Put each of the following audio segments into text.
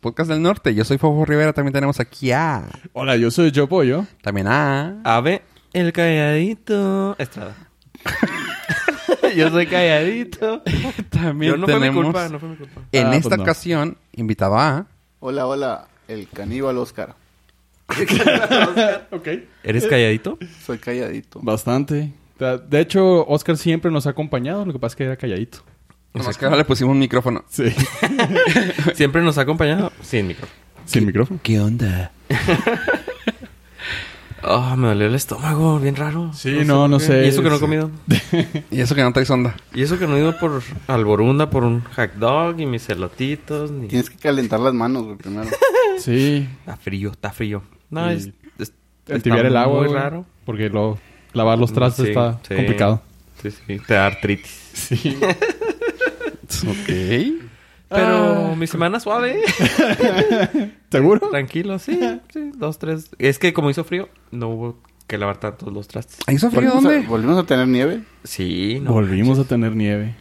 Podcast del Norte. Yo soy Fofo Rivera. También tenemos aquí a. Hola, yo soy Yo Pollo. También a. Ave, el calladito. Estrada. Yo soy calladito. También Yo no fue mi tenemos. culpa, no fue mi culpa. En Ah, pues esta no. ocasión, invitado a. Hola, hola, el caníbal Oscar. Ok. ¿Eres calladito? Soy calladito. Bastante. Ta- De hecho, Oscar siempre nos ha acompañado, lo que pasa es que era calladito. Nomás que ahora le pusimos un micrófono. Sí. Siempre nos ha acompañado sin micro. Sin micrófono. ¿Qué onda? Ah, me dolió el estómago, bien raro. Sí, no, no por qué. sé. ¿Y eso que no he Sí. comido? Y eso que no traes onda. Y eso que no he ido por Alborunda, por un hot dog y mis elotitos. Ni... Tienes que calentar las manos, güey, primero. Sí. Está frío, está frío. No, Y es, es- Entibiar está el agua. Muy güey, raro. Porque lo, lavar los trastes Sí, está sí. complicado. Sí, sí, te da artritis. Sí. Ok. Ah. Pero mi semana suave. ¿Seguro? Tranquilo, sí, sí, dos, tres. Es que como hizo frío, no hubo que lavar tantos los trastes. ¿Ahí hizo frío ¿Volvimos a- dónde? ¿Volvimos a tener nieve? Sí, no. Volvimos a tener nieve.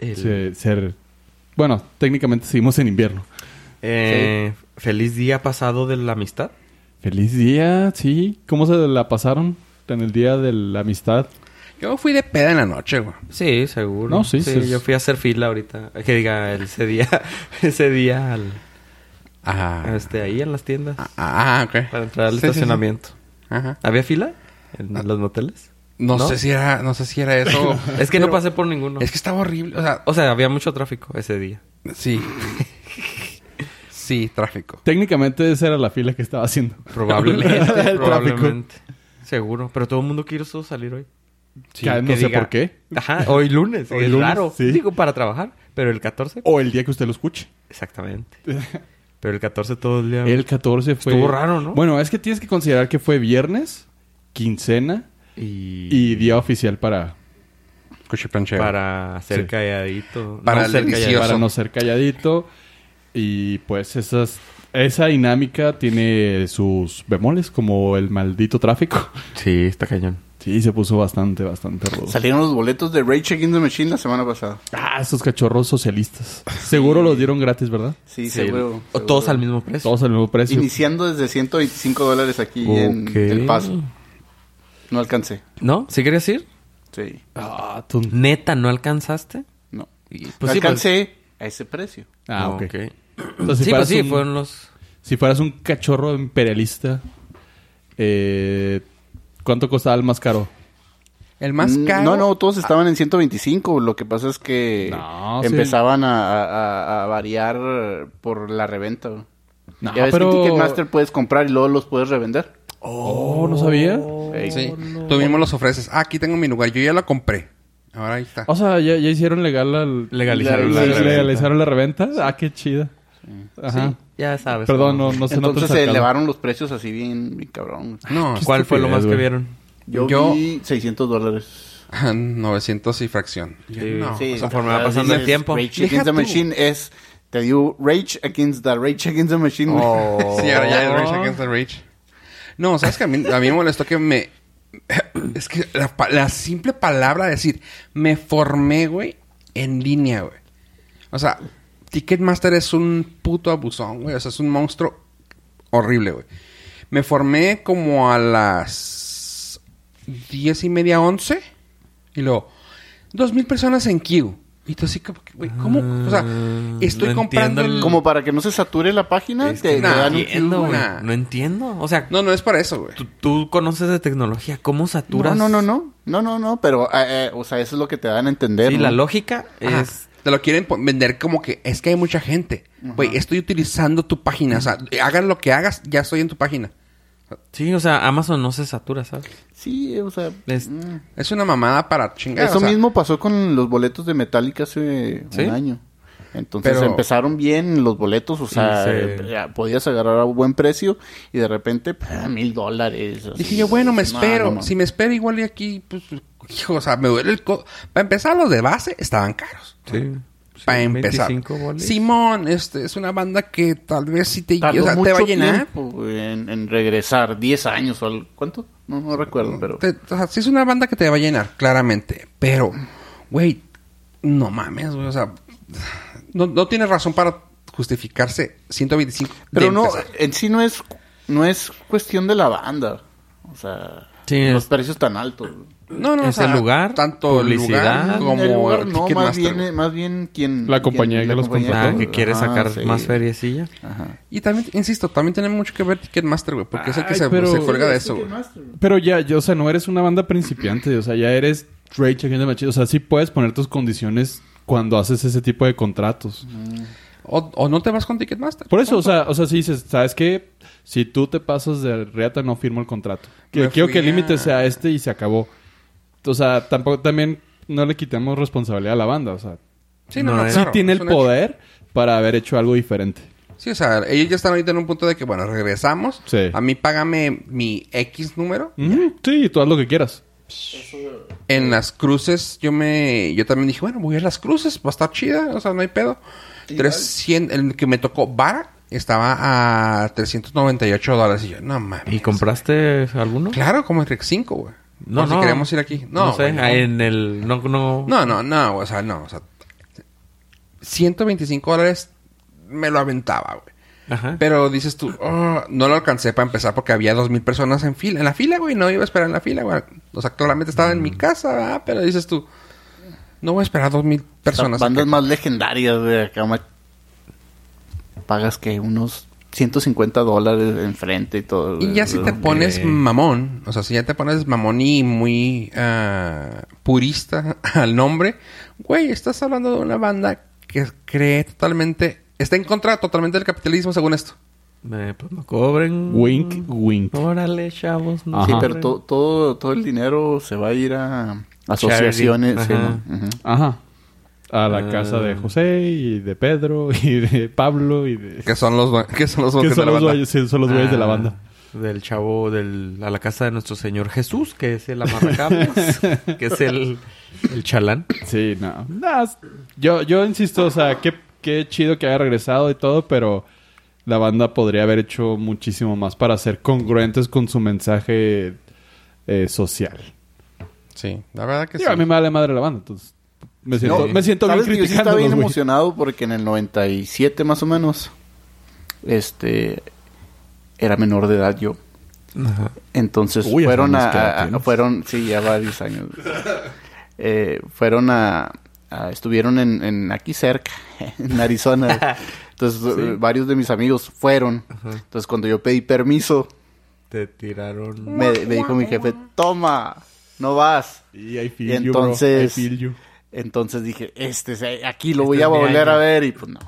El- Se- ser- Bueno, técnicamente seguimos en invierno. eh, Feliz día pasado de la amistad. Feliz día, sí. ¿Cómo se la pasaron en el día de la amistad? Yo fui de peda en la noche, güey. Sí, seguro. No, sí, sí. Yo fui a hacer fila ahorita. Que diga, el- ese día, ese día al, Ah. este, ahí en las tiendas. Ah, ok. Para entrar al Sí, sí, sí. estacionamiento. Ajá. ¿Había fila en los moteles? No, ¿No? sé si era, no sé si era eso. Es que no pero- pasé por ninguno. Es que estaba horrible. O sea, O sea, había mucho tráfico ese día. sí. sí, tráfico. Técnicamente esa era la fila que estaba haciendo. Probablemente, El probablemente. Seguro. Pero todo el mundo quiso salir hoy. Sí, Que no que sé diga- por qué. Ajá, hoy lunes. Hoy es lunes, raro. sí. Digo, para trabajar. Pero el 14... O el día que usted lo escuche. Exactamente. Pero el 14 todo el día... El 14 fue... Estuvo raro, ¿no? Bueno, es que tienes que considerar que fue viernes, quincena Y... y día oficial para, Cuchiplanchero. Para ser Sí. calladito. Para el ser delicioso. calladito. para no ser calladito. Y pues esas, esa dinámica tiene sus bemoles, como el maldito tráfico. Sí, está cañón. Sí, se puso bastante, bastante rudo. Salieron los boletos de Rage Against the Machine la semana pasada. Ah, esos cachorros socialistas. Seguro los dieron gratis, ¿verdad? Sí, Sí. seguro. O seguro. todos al mismo precio. Todos al mismo precio. Iniciando desde 125 dólares aquí en Ok. El Paso. No alcancé. ¿No? ¿Sí querías ir? Sí, Ah, tú- ¿Neta no alcanzaste? no. Y- No Pues sí, alcancé a ese precio. Ah, No, ok. ok. Entonces, si sí, pues fueras sí, un- fueron los... Si fueras un cachorro imperialista, eh, ¿cuánto costaba el más caro? El más Mm, caro. No, no, todos Ah. estaban en 125. Lo que pasa es que No, sí. empezaban a, a- a- a variar por la reventa. güey. No, ya ves pero- que en Ticketmaster puedes comprar y luego los puedes revender. Oh, ¿no sabía? Ey. Sí. Tú mismo los ofreces. Ah, aquí tengo mi lugar. Yo ya lo compré. Ahora ahí está. O sea, ¿ya, ya hicieron legal al... Legalizaron la- sí, reventa. legalizaron la reventa. Ah, qué chida. Ajá. Ya sabes. Perdón, cómo. no, no se nota Entonces el se sarcasmo. elevaron los precios así bien, bien cabrón. no, ¿Cuál fue lo más que güey. vieron? Yo, Yo- vi 600 dólares. está- 900 y fracción. Yo, Sí. no. Sí. pues conforme va pasando el dices, tiempo. Rage Deja Against the tú. Machine es... Te digo Rage Against the Rage Against the Machine. güey. Oh. Sí, ahora ya es Rage Against the Rage. No, ¿sabes que A mí, a mí me molestó que me... Es que la, pa- la simple palabra de decir, me formé, güey, en línea, güey. O sea, Ticketmaster es un puto abusón, güey. O sea, es un monstruo horrible, güey. Me formé como a las diez y media, once. Y luego, dos mil personas en queue. Y tú así, como que, güey, ¿cómo? O sea, Ah, estoy no comprando entiendo el- el... Como para que no se sature la página, Es te, que te nah, no dan un entiendo, cube, güey. nah. No entiendo. O sea, No, no es para eso, güey. tú, tú conoces de tecnología. ¿Cómo No, saturas? no, no, no. No, no, no, pero, eh, eh, o sea, eso es lo que te dan a entender. Sí, ¿no? la lógica Ajá. es... Te lo quieren pon- vender como que es que hay mucha gente. Güey, estoy utilizando tu página. O sea, hagas lo que hagas, ya estoy en tu página. Sí, o sea, Amazon no se satura, ¿sabes? Sí, o sea. Es- mm. Es una mamada para chingar. Eso o sea, mismo pasó con los boletos de Metallica hace ¿Sí? un año. Entonces Pero- empezaron bien los boletos, o sea, eh, se- ya podías agarrar a buen precio y de repente, pa, mil dólares. así. Dije yo, bueno, me No, espero. no, no. Si me espero igual y aquí, pues, hijo, o sea, me duele el codo. Para empezar, los de base estaban caros. Sí. para empezar. 25 bolis. Simón, este, es una banda que tal vez si te, Tardó o sea, te mucho va a llenar. tiempo en, en regresar, 10 años o algo. ¿Cuánto? No, no recuerdo, pero... Te- o sea, sí es una banda que te va a llenar, claramente. Pero, güey, no mames, güey. O sea, no, no tienes razón para justificarse 125. de Pero no, empezar. en sí no es, no es cuestión de la banda. O sea, Sí, los es- precios tan altos. No, no, Es el lugar, Tanto el lugar publicidad. como El lugar no, más Ticketmaster, bien, eh. güey. más bien quien... Ah, La compañía quien- que los compañía contrató. Ah, todo. que quiere Ajá, sacar sí. más feriecilla. Ajá. Y también, insisto, también tiene mucho que ver Ticketmaster, güey. Porque es el que Ay, se, pero- se cuelga de eso, güey. Ticketmaster, güey. Pero ya, ya, o sea, no eres una banda principiante, o sea, ya eres Rage Against the Machine. O sea, sí puedes poner tus condiciones cuando haces ese tipo de contratos. O, o no te vas con Ticketmaster. Por eso, o sea, o sea, si dices, ¿sabes qué? Si tú te pasas de reata, no firmo el contrato. Que Me quiero fui que el límite a- sea este y se acabó. O sea, tampoco, también no le quitemos responsabilidad a la banda, o sea. Sí, no, No, no, eh. Sí claro, tiene es el un hecho. poder para haber hecho algo diferente. Sí, o sea, ellos ya están ahorita en un punto de que, bueno, regresamos. Sí. A mí págame mi X número. Mm, sí, tú haz lo que quieras. En las cruces yo me... Yo también dije, bueno, voy a las cruces. Va a estar chida. O sea, no hay pedo. 300... El que me tocó Vara estaba a 398 dólares. Y yo, no mames. ¿Y compraste alguno? Claro, como entre 5, güey. No, Si queremos ir aquí. No, No, sé. güey, no. ah, En el... No, no... No, no, no, o sea, no, o sea, 125 dólares me lo aventaba, güey. Ajá. Pero dices tú, "Oh, no lo alcancé para empezar porque había 2000 personas en fila, en la fila, güey, no iba a esperar en la fila, güey. O sea, claramente estaba Mm. en mi casa, ¿verdad? pero dices tú, no voy a esperar 2000 Las personas. bandas acá". más legendarias, güey. Acá más... Pagas que unos 150 dólares enfrente y todo. Y güey. ya si te pones mamón, o sea, si ya te pones mamón y muy ah, purista al nombre, güey, estás hablando de una banda que cree totalmente, está en contra totalmente del capitalismo según esto. Eh, pues no cobren. Wink, wink. Órale, chavos. No Sí, Ajá. pero to- todo, todo el dinero se va a ir a asociaciones. sí, Ajá. ¿no? Ujú. Ajá. A la Ah. casa de José y de Pedro y de Pablo y de... Que son los due- que son los Que dueños de son la los banda. güeyes, sí, son los güeyes de la Ah, banda. Del chavo, del, a la casa de nuestro señor Jesús, que es el amarracables, que es el, el chalán. Sí, no. No, es- yo, yo insisto, o sea, qué, qué chido que haya regresado y todo, pero la banda podría haber hecho muchísimo más para ser congruentes con su mensaje eh, social. Sí, la verdad que sí. Digo, a mí me vale madre la banda, entonces me siento, No, me siento bien ¿sabes que yo sí estaba criticándolos, bien güey. emocionado porque en el 97 más o menos, este, era menor de edad yo. Ajá. Entonces Uy, hace fueron unos a, que la a- tienes. fueron, sí, ya varios años. Eh, fueron a, a- estuvieron en, en aquí cerca, en Arizona. Entonces eh, varios de mis amigos fueron. Entonces cuando yo pedí permiso, Te tiraron. me, me dijo mi jefe, toma, no vas. Y I feel Y you, bro. I entonces- feel you. Entonces dije, este, se- aquí lo voy Este a es mi volver año. a ver y pues no.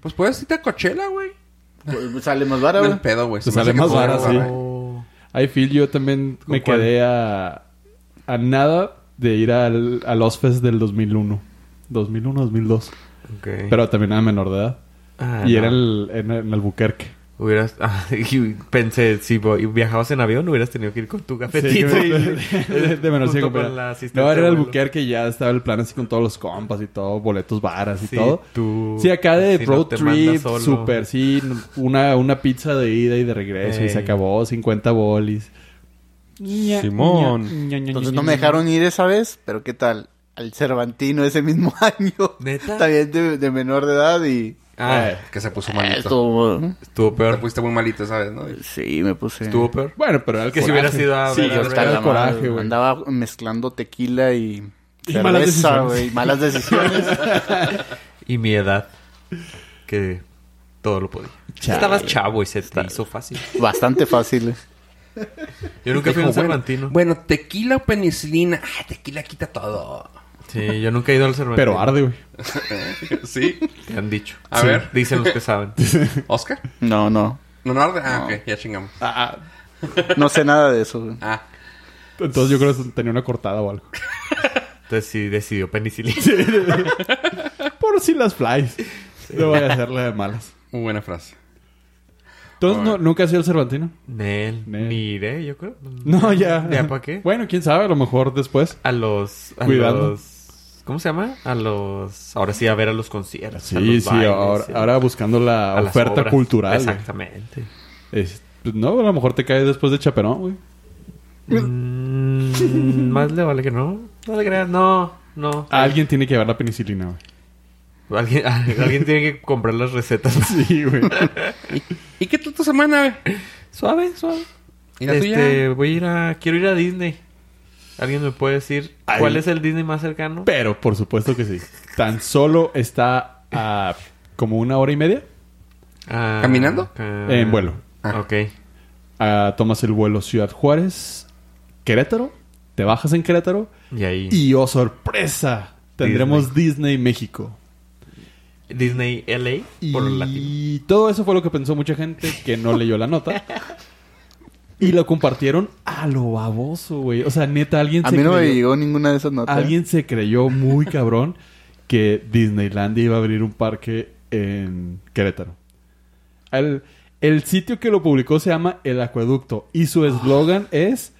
Pues puedes irte a Coachella, güey. Pues, Sale más barato. No el pedo, güey. Te Se me sale hace que más es barato, barato, sí. güey. Oh. I feel you también ¿Con me cuál? quedé a, a nada de ir al, al Ozfest del 2001. 2001, 2002. Ok. Pero también era menor de edad. Ah, y no. era el- en, en Albuquerque. Hubieras... ah, y pensé, si voy- viajabas en avión, hubieras tenido que ir con tu Sí, cafetito. güey, y- de, de- de menor junto sí, con pero- la asistente No, era de el vuelo. Albuquerque y ya estaba el plan así con todos los compas y todo, boletos varas y Sí, todo. tú- Sí, acá de si no road te manda trip, solo. super, sí, una, una pizza de ida y de regreso y se Ey. acabó, 50 bolis. Simón. Entonces no me dejaron ir esa vez, pero ¿qué tal? Al Cervantino ese mismo año. ¿Neta? También de, de menor de edad y... Ah, Que se puso Eh, malito. estuvo- estuvo Te peor. pusiste muy malito, ¿sabes? ¿No? Sí, me puse... Estuvo peor. Bueno, pero era el Que si coraje. hubiera sido a Sí, ver a yo Red estaba Está el la madre, coraje, güey. Andaba mezclando tequila y... Y malas cerveza, decisiones. güey, y malas decisiones. Y mi edad, que todo lo podía. Chale. Estabas chavo y se te hizo fácil. Bastante fácil. Yo nunca fui Dijo, a un bueno, Cervantino. bueno, tequila o penicilina. Ah, tequila quita todo. Sí, yo nunca he ido al Cervantino. Pero arde, güey. ¿Sí? Te han dicho. A ver. Dicen los que saben. ¿Oscar? No, no. ¿No arde? Ah, ok. Ya chingamos. No sé nada de eso. güey. Ah. Entonces yo creo que tenía una cortada o algo. Entonces sí decidió penicilina. Ah, Por si las flies. No voy a hacerle de malas. Muy buena frase. Entonces, no, ¿nunca has ido al Cervantino? Nel, Nel. ni iré, yo creo. No, ya. ¿Ya para qué? Bueno, quién sabe, a lo mejor después. A los... A Cuidando. los... ¿Cómo se llama? A los... Ahora sí, a ver a los conciertos. a Sí, los sí, bailes, ahora, sí. ahora buscando la A las oferta obras. cultural. eh. güey. Exactamente. Es- pues, no, a lo mejor te caes después de Chaperón, güey. Mm, más le vale que no. No le creas, no, no. Ah, Alguien tiene que llevar la penicilina, güey. Alguien, alguien tiene que comprar las recetas. Sí, güey. ¿Y, y qué tal tu semana, güey? Suave, suave. ¿Y la este, tuya? voy a ir a... Quiero ir a Disney. ¿Alguien me puede decir Ay. cuál es el Disney más cercano? Pero por supuesto que sí. Tan solo está a como una hora y media. Ah, ¿Caminando? ah, En vuelo. Ah. Ok. Ah, tomas el vuelo Ciudad Juárez, Querétaro. Te bajas en Querétaro. Y ahí... Y oh sorpresa, tendremos Disney, México. Disney LA Y por lo latino. todo eso fue lo que pensó mucha gente que no leyó la nota. Y lo compartieron a lo baboso, güey. O sea, neta, alguien A se mí no me creyó- llegó ninguna de esas notas. Alguien se creyó muy cabrón que Disneylandia iba a abrir un parque en Querétaro. El, el sitio que lo publicó se llama El Acueducto y su eslogan es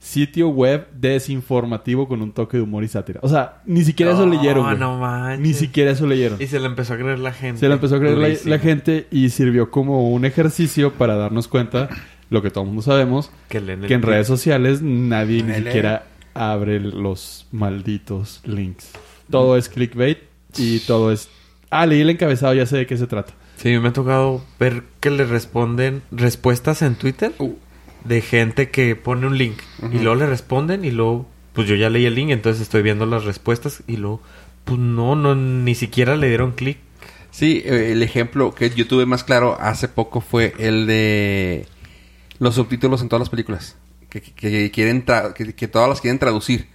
sitio web desinformativo con un toque de humor y sátira. O sea, ni siquiera eso No, leyeron. güey. no manches. Ni siquiera eso leyeron. Y se le empezó a creer la gente. Se lo empezó a creer la- la, Durísimo. gente y sirvió como un ejercicio para darnos cuenta lo que todo el mundo sabemos, Que, leen el que en tweet. redes sociales nadie Nadie ni lee. siquiera abre los malditos links. Todo es clickbait y todo es... Ah, leí el encabezado, ya sé de qué se trata. Sí, me ha tocado ver que le responden respuestas en Twitter Uh. de gente que pone un link y luego le responden y luego, pues yo ya leí el link, entonces estoy viendo las respuestas y luego, pues no, no, ni siquiera le dieron clic. Sí, eh, el ejemplo que yo tuve más claro hace poco fue el de los subtítulos en todas las películas. Que, que- que quieren tra- que, que todas las quieren traducir.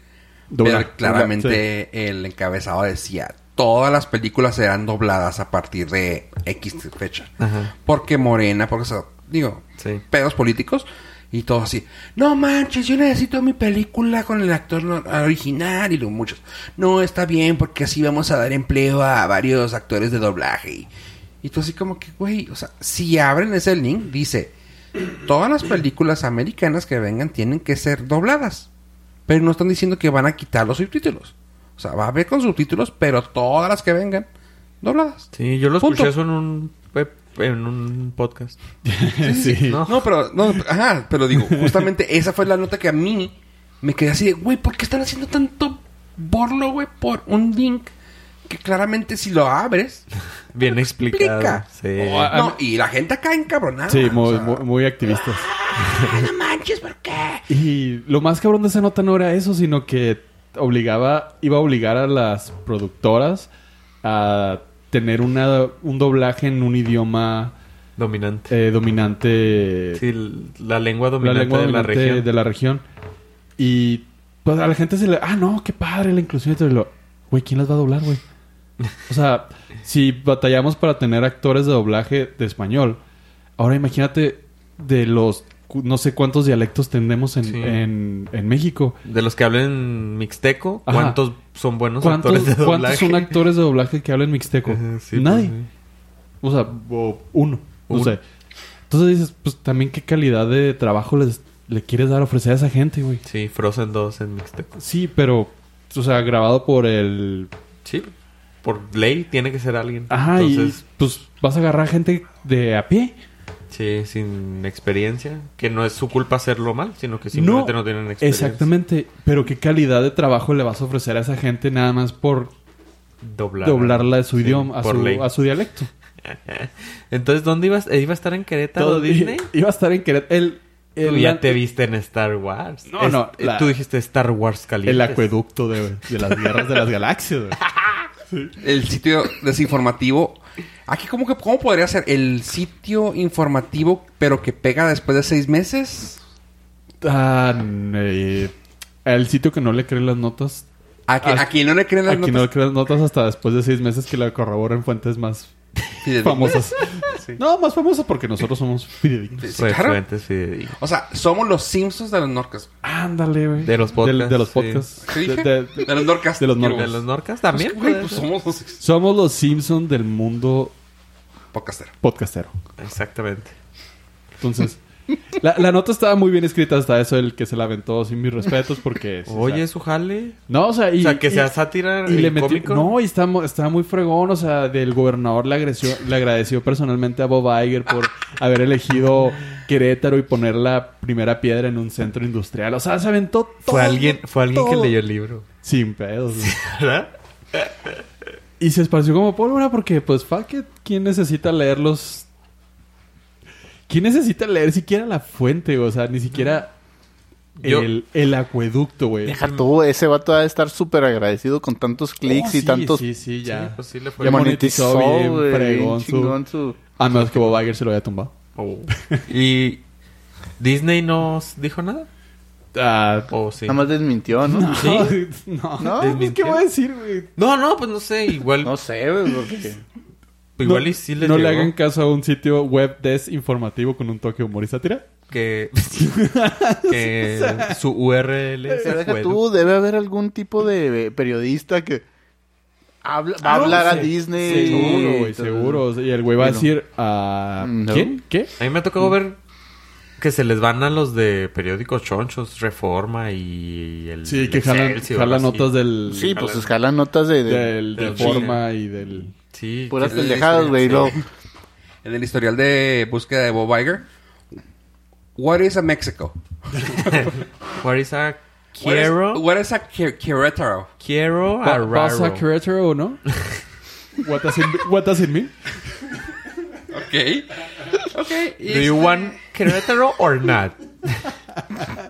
Doblar. Pero claramente el encabezado decía, todas las películas serán dobladas a partir de X fecha. Ajá. Porque Morena, porque, o sea, digo, Sí. pedos políticos. Y todo así, no manches, yo necesito mi película con el actor no- original y lo muchos. No, está bien, porque así vamos a dar empleo a varios actores de doblaje. Y, y tú así como que, güey, o sea, si abren ese link, dice, todas las películas americanas que vengan tienen que ser dobladas. Pero no están diciendo que van a quitar los subtítulos. O sea, va a haber con subtítulos, pero todas las que vengan, dobladas. Sí, yo lo Punto. escuché eso en un, web- en un podcast. sí. No. No, pero, no, ajá, pero digo, justamente esa fue la nota que a mí me quedé así de, güey, ¿por qué están haciendo tanto borlo, güey, por un link que claramente si lo abres, Bien explicado. Explica. Sí. O a- no, y la gente acá encabronada. Sí, o muy, sea, muy, muy activistas. "Ah, no manches, ¿por qué? Y lo más cabrón de esa nota no era eso, sino que obligaba, iba a obligar a las productoras a tener una, un doblaje en un idioma Dominante. eh, dominante, Sí, l- la lengua Eh, la dominante lengua de la dominante de la, región. región. Y pues a la gente se le, ah, no, qué padre la inclusión. Y lo, güey, ¿quién las va a doblar, güey? O sea, si batallamos para tener actores de doblaje de español, ahora imagínate de los cu- no sé cuántos dialectos tenemos en, Sí. en, en México. De los que hablan mixteco, Ajá. ¿cuántos son buenos ¿Cuántos, actores de doblaje? cuántos son actores de doblaje que hablen mixteco? Ajá, sí, Nadie. pues, sí. O sea, o uno. No Uno. sé. Entonces dices, pues también qué calidad de trabajo les, le quieres dar a ofrecer a esa gente, güey. Sí, Frozen 2 en Mixteco. Sí, pero, o sea, grabado por el... Sí, por ley tiene que ser alguien. Ajá, Entonces, y pues vas a agarrar gente de a pie. sí, sin experiencia. Que no es su culpa hacerlo mal, sino que simplemente no, tienen experiencia. Exactamente. Pero qué calidad de trabajo le vas a ofrecer a esa gente nada más por Doblar. doblarla de su Sí, idioma, a por su, ley. a su dialecto. Entonces, ¿dónde ibas? Eh, ¿Iba a estar en Querétaro Disney? Iba a estar en Querétaro. El, Tú el, ya te viste en Star Wars. No, no, eh, la- Tú dijiste Star Wars caliente. el acueducto de, de las guerras de las galaxias, güey. El sitio desinformativo. Aquí como que, ¿cómo podría ser? El sitio informativo, pero que pega después de seis meses. Ah, eh, el sitio que no le cree las notas. A, que- Ah, a quien no le creen las Aquí no le notas. cree las notas hasta después de seis meses que la corroboran fuentes más famosas. No, más famosas porque nosotros somos fidedignos. Sí, claro. Fuentes fidedignas. O sea, somos los Simpsons de los Norcas. Ándale, güey. De los De, podcasts, los sí. podcasts. ¿Qué dije? De- de- de- De los Norcas. de los Quiero- Norcas. ¿De los Norcas también? Güey, puede pues ser. somos los somos los Simpson del mundo podcasters. podcastero. Exactamente. Entonces, la, la nota estaba muy bien escrita hasta eso, el que se la aventó sin mis respetos porque... Pues, sí, o sea, Oye, su jale. no, o sea, y, o sea, que y- sea sátira Y y, le metió- cómico. No, y está, mu- está muy fregón. O sea, del gobernador le, agresió- le agradeció personalmente a Bob Iger por haber elegido Querétaro y poner la primera piedra en un centro industrial. O sea, se aventó todo. Fue alguien, fue alguien que todo. leyó el libro. Sin pedos. güey. ¿Verdad? Y se esparció como pólvora porque, pues, fuck it. ¿Quién necesita leer los... ¿Quién necesita leer siquiera la fuente? O sea, ni siquiera Yo- el, el acueducto, güey. Deja tú, ese vato va a estar súper agradecido con tantos clics Oh, y sí, tantos... Sí, sí, ya. Sí, pues sí le fue Ya mon- mal. monetizó, monetizó bien, güey, fregón bien su- chingón su... A menos que Bob Iger se lo haya tumbado. Oh. ¿Y Disney nos dijo nada? Ah, ¿O sí? Nada más desmintió, ¿no? no, no, No, pues, ¿qué desmintió. voy a decir, güey? No, no, pues no sé. Igual, No sé, güey, porque... Pues igual no, y sí les No llegó le hagan caso a un sitio web desinformativo con un toque de humor y sátira. que, que su URL es Pero deja bueno. tú, debe haber algún tipo de periodista que habla, va a Ah, hablar sí. a Disney. Seguro, güey, Entonces, seguro. O sea, Y el güey va a Bueno. decir, ah, No. ¿quién? ¿Qué? A mí me ha tocado ver que se les van a los de periódicos chonchos, Reforma y el Sí, que el jalan, Excelsior, jalan así. notas del... Sí, pues escalan notas de, de del, del del forma y del... Sí, puras que- del- pendejadas, güey. sí. luego, En el historial de búsqueda de Bob Iger. What is a Mexico? What is a What is- quiero? What is a qui- Querétaro? Quiero a Pa- ¿Pasa Ah, raro. Creator o no? What does, it, what does it mean? Ok. Ok. y Do you este- want Querétaro or not?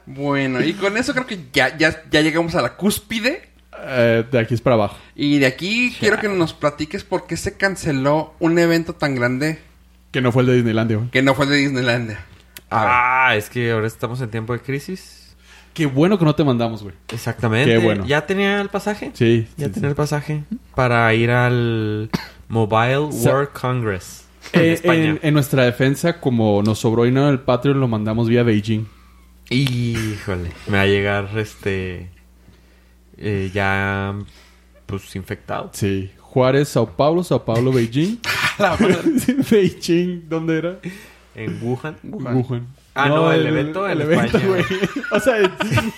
Bueno, y con eso creo que ya, ya, ya llegamos a la cúspide. Eh, de aquí es para abajo. Y de aquí quiero que nos platiques por qué se canceló un evento tan grande Que no fue el de Disneylandia, güey. que no fue el de Disneylandia. A Ah, es que ahora estamos en tiempo de crisis. Qué bueno que no te mandamos, güey. Exactamente. Qué bueno. ¿Ya tenía el pasaje? Sí. Ya sí, sí. tenía el pasaje para ir al Mobile Sa- World Congress en Eh, en, España. en nuestra defensa, como nos sobró dinero en el Patreon, lo mandamos vía Beijing. Híjole, me va a llegar este eh, ya pues infectado. Sí. Juárez, Sao Paulo, Sao Paulo, Beijing. la madre. Beijing, ¿dónde era? En Wuhan. Wuhan. Wuhan. Ah, no, el evento en España. güey. O sea,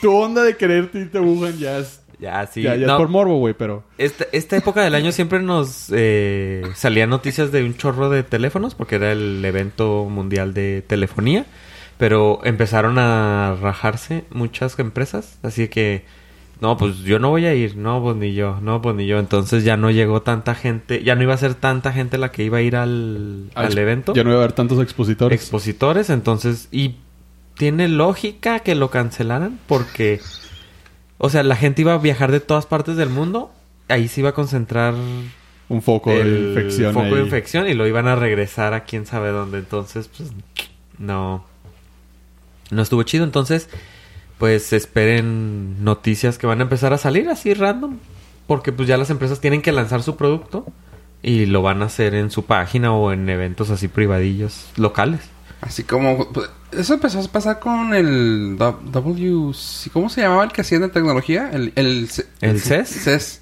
tu onda de quererte irte a Wuhan ya es, Ya, sí. ya, ya no, es por morbo, güey, pero... esta, esta época del año siempre nos eh, salían noticias de un chorro de teléfonos porque era el evento mundial de telefonía. Pero empezaron a rajarse muchas empresas. Así que, no, pues yo no voy a ir. No, pues ni yo. No, pues ni yo. Entonces ya no llegó tanta gente. Ya no iba a ser tanta gente la que iba a ir al, al evento. Ya no iba a haber tantos expositores. expositores, entonces, y tiene lógica que lo cancelaran porque, o sea, la gente iba a viajar de todas partes del mundo, ahí se iba a concentrar un foco de el infección foco de ahí. infección y lo iban a regresar a quién sabe dónde, entonces, pues, no, no estuvo chido, entonces, pues, esperen noticias que van a empezar a salir así random, porque pues ya las empresas tienen que lanzar su producto. Y lo van a hacer en su página o en eventos así privadillos locales. Así como... pues, Eso empezó a pasar con el W... ¿Cómo se llamaba el que hacían de tecnología? El, el, C- ¿El CES? CES.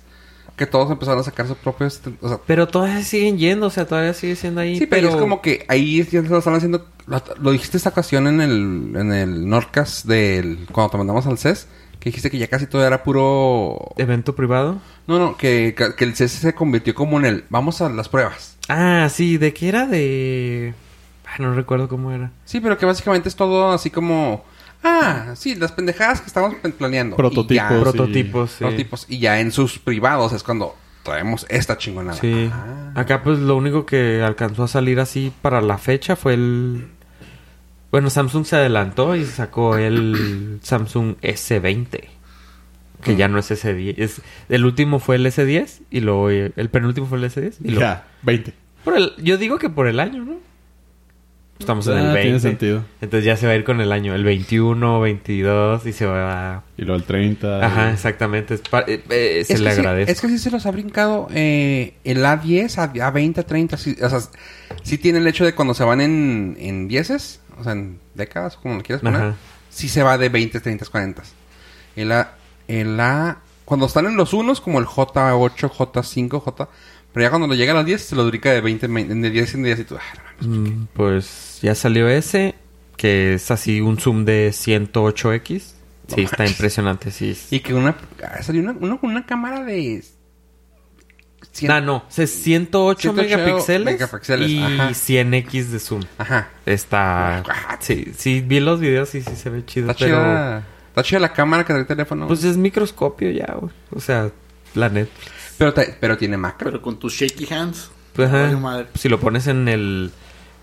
Que todos empezaron a sacar sus propios... O sea, Pero todavía siguen yendo, o sea, todavía sigue siendo ahí. Sí, pero, es como que ahí ya se lo están haciendo. Lo, lo dijiste esta ocasión en el, en el Norcas del. Cuando te mandamos al CES, que dijiste que ya casi todo era puro. ¿Evento privado? No, no, que, que el CES se convirtió como en el. Vamos a las pruebas. Ah, sí, ¿de qué era? De... Ah, no recuerdo cómo era. Sí, pero que básicamente es todo así como. Ah, sí, las pendejadas que estamos pen- planeando. Y ya, Prototipos. prot- Prototipos, sí. prototipos. Y ya en sus privados es cuando traemos esta chingonada. Sí. Ah. Acá pues lo único que alcanzó a salir así para la fecha fue el... Bueno, Samsung se adelantó y sacó el Samsung S20. Ah. Que ya no es S10. Es... El último fue el S10 y luego... eh, El penúltimo fue el S10 y luego... Ya, 20. Por el, yo digo que por el año, ¿no? Estamos en el Ah, 20. tiene sentido. Entonces ya se va a ir con el año, el 21, 22 y se va a... Y luego el 30. Ajá, y- exactamente. es pa- eh, eh, se Es le que sí- agradece. es que sí se los ha brincado eh, el A10, a, A20, A30. Sí, o sea, sí tiene el hecho de cuando se van en, en dieces, o sea, en décadas, como lo quieras poner, Ajá. sí se va de 20, 30, 40. El A, el A, cuando están en los unos, como el J8, J5, J, pero ya cuando lo llega a los 10, se los brinca de 20, en 20, de 10 en 10 y tú, ah, no mames. Mm, Pues ya salió ese, que es así un zoom de 108X. Sí, está impresionante, sí. es- Y que una, ah, salió una, una, una cámara de... cien- Ah, no, es 108, 108 megapíxeles, megapíxeles, y ajá. 100X de zoom. Ajá. Está... Sí, sí, vi los videos y sí se ve chido, Está pero... chida. Está chida la cámara que trae el teléfono. Pues es microscopio ya, güey. O sea, la net. Pero, ta- pero tiene macro. Pero con tus shaky hands. Pues, ajá, Vale, madre. Si lo pones en el,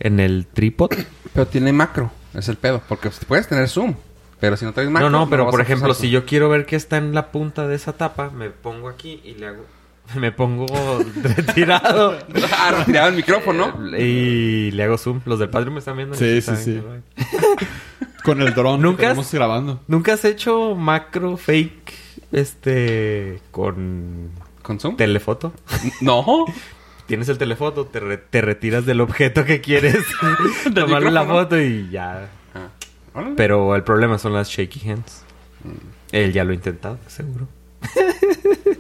en el trípod. Pero tiene macro. Es el pedo. Porque puedes tener zoom. Pero si no traes macro... no, no, pero vas por a usar ejemplo, zoom. si yo quiero ver que está en la punta de esa tapa, me pongo aquí y le hago. Me pongo retirado. ah, retirado el micrófono. Eh, y le hago zoom. Los del Patreon me están viendo. Sí, saben sí, sí. que lo hay. Con el dron ¿Nunca ¿Nunca has- estamos grabando. ¿Nunca has hecho macro fake este con ¿Con zoom? telefoto? No. Tienes el telefoto, te, re- te retiras del objeto que quieres tomarle la micrófono. foto y ya. Ah, órale. Pero el problema son las shaky hands. Él ya lo ha intentado, seguro.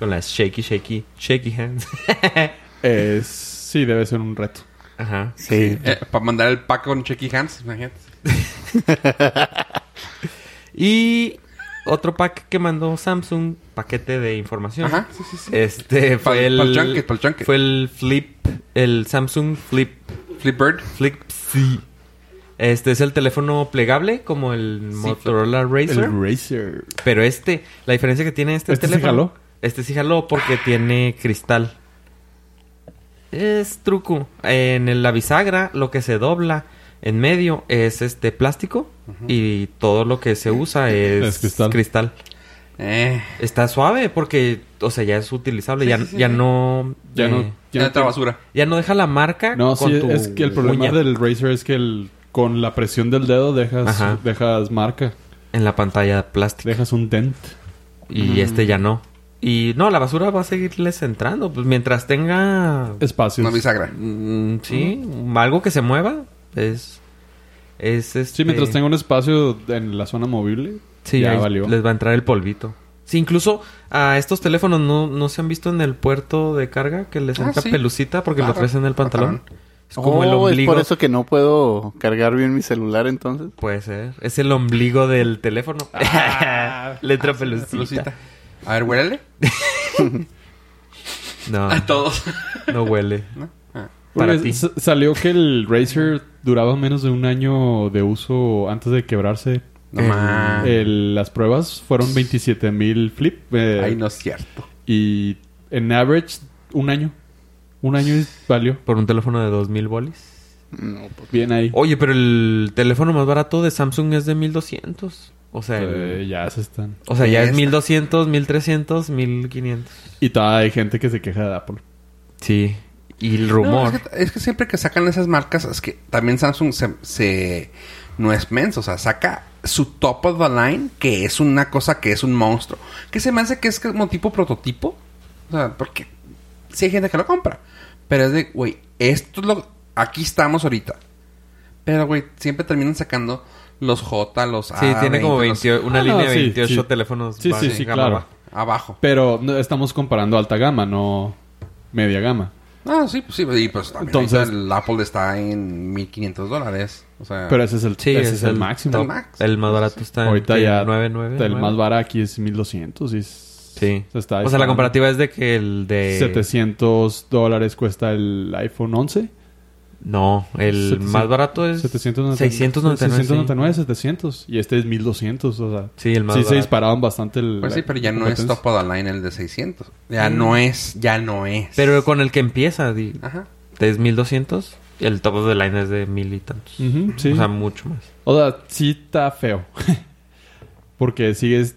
Con las shaky, shaky, shaky hands. Es... Sí, debe ser un reto. Ajá. Sí. Eh, para mandar el pack con Checky Hands, imagínate. Y otro pack que mandó Samsung, paquete de información. Ajá, sí, sí, sí. Este fue Pa'l- el. pa'l junket, pa'l junket. Fue el flip, el Samsung Flip. Flipbird. Flip, sí. Este es el teléfono plegable, como el Motorola Razr. El Razer. Pero este, la diferencia que tiene este, ¿Este sí teléfono. jaló? Este sí jaló porque tiene cristal. Es truco. En el- la bisagra, lo que se dobla en medio es este plástico. Y todo lo que se usa es, Es cristal. Eh. Está suave porque, o sea, ya es utilizable. Sí, ya sí, sí, ya sí. no. Ya eh, no... Ya Ya no, está basura. Ya no deja la marca. no con sí, tu es que el problema uña del Razer es que el... Con la presión del dedo Ajá. dejas, dejas marca. En la pantalla plástica. Dejas un dent. Y este ya no. Y no, la basura va a seguirles entrando. Pues mientras tenga Espacios. Una bisagra. Mm, sí, algo que se mueva es es este Sí, mientras tenga un espacio en la zona movible, Sí, ya ahí valió. les va a entrar el polvito. Sí, incluso a estos teléfonos no, no se han visto en el puerto de carga que les Ah, entra sí. pelucita porque lo Claro, traes en el pantalón. Es como el Oh, es ombligo. por eso que no puedo cargar bien mi celular entonces. Puede ser. Es el ombligo del teléfono. Ah, Le entra pelucita. Lucita. A ver, huélele. No, Ah, A todos. no huele. ¿No? Ah. Oye, para ti. sa- Salió que el Razer duraba menos de un año de uso antes de quebrarse. No El- Ah. más. El- las pruebas fueron 27 mil flip. eh, Ay, no es cierto. Y en average, un año. Un año y valió. Por un teléfono de 2000 bolis. No, pues, Bien ahí. Oye, pero el teléfono más barato de Samsung es de 1200. O sea, el- Eh, ya se están. O sea, ya es Esta. 1200, 1300, 1500. Y todavía hay gente que se queja de Apple. Sí. Y el No, rumor. es, que, es que siempre que sacan esas marcas, es que también Samsung se, se- no es menso, o sea, saca su top of the line, que es una cosa que es un monstruo. Que se me hace que es como tipo prototipo. O sea, porque sí hay gente que lo compra. Pero es de, güey, esto es lo. Aquí estamos ahorita. Pero, güey, siempre terminan sacando los J, los A. sí, tiene como 20, 20, una Ah, no, línea de sí, 28 sí. teléfonos. Sí, va- sí, sí, Pues gama claro. baja. los- abajo. Pero no, estamos comparando alta gama, no media gama. Ah, sí, pues sí. Y pues también Entonces- ahorita el Apple está en 1500 dólares. O sea, Pero ese es el, Ah. Sí, ese es el máximo. top. top. El más barato está en Ahorita ¿qué? ya 99. El más barato. barato aquí es 1200. Y es- Sí. se está o sea, la disparando. comparativa es de que el de 700 dólares cuesta el iPhone 11. No, el 700, más barato es 799. 699. 699, 700. Y este es 1200. O sea, Sí, el más sí se barato. dispararon bastante el. Pues sí, pero ya la no es competencia. top of the line el de 600. Ya Mm. no es, ya no es. Pero con el que empieza, di- Ajá. es 1200. El top of the line es de mil y tantos. Ujú, Mm, sí. O sea, mucho más. O sea, sí está feo. Porque sigues.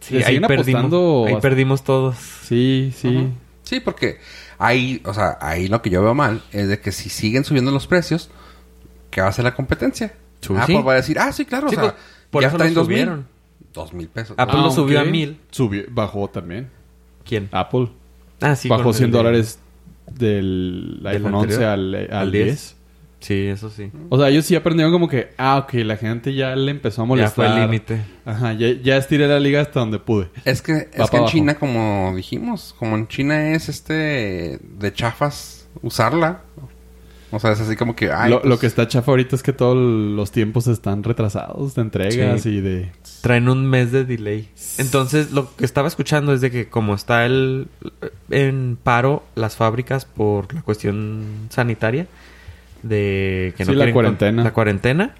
Sí, le ahí siguen apostando perdimos, ahí bast- perdimos todos. Sí, sí. Ajá. Sí, porque ahí, o sea, ahí lo que yo veo mal es de que si siguen subiendo los precios, ¿qué va a hacer la competencia? Sí. Apple va a decir, ah, sí, claro, Sí, o sea, pues, por ya eso está lo en 2000. subieron. 2000 pesos. Apple lo Aunque subió a 1000. Subió, bajó también. ¿Quién? Apple Ah, sí. con bajó el 100 de- dólares del iPhone 11 al, eh, al Al 10. 10. Sí, eso sí. O sea, ellos sí aprendieron como que, ah, ok, la gente ya le empezó a molestar. Ya fue el límite. Ajá, ya, ya estiré la liga hasta donde pude. Es que, para es que en abajo. China, como dijimos, como en China es este de chafas usarla. O sea, es así como que, ay, lo, pues, lo que está chafa ahorita es que todos los tiempos están retrasados de entregas Sí. y de... Traen un mes de delay. Entonces, lo que estaba escuchando es de que como está el en paro las fábricas por la cuestión sanitaria de que no Sí, la quieren con- cuarentena. la cuarentena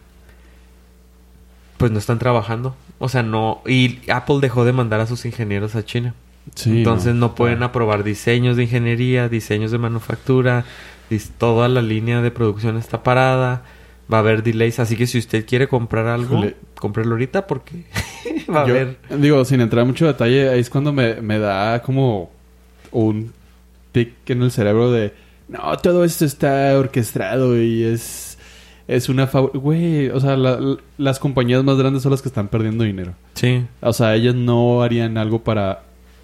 pues no están trabajando. O sea, no y Apple dejó de mandar a sus ingenieros a China. Sí, Entonces no, pueden aprobar diseños de ingeniería, diseños de manufactura, dis- toda la línea de producción está parada, va a haber delays, así que si usted quiere comprar algo, Híjole. cómprelo ahorita porque va a Yo- haber... Digo, sin entrar en mucho detalle, ahí es cuando me, me da como un tic en el cerebro de... No, todo esto está orquestado y es... Es una... fav- Güey, o sea, la- la- las compañías más grandes son las que están perdiendo dinero. Sí. O sea, ellas no harían algo para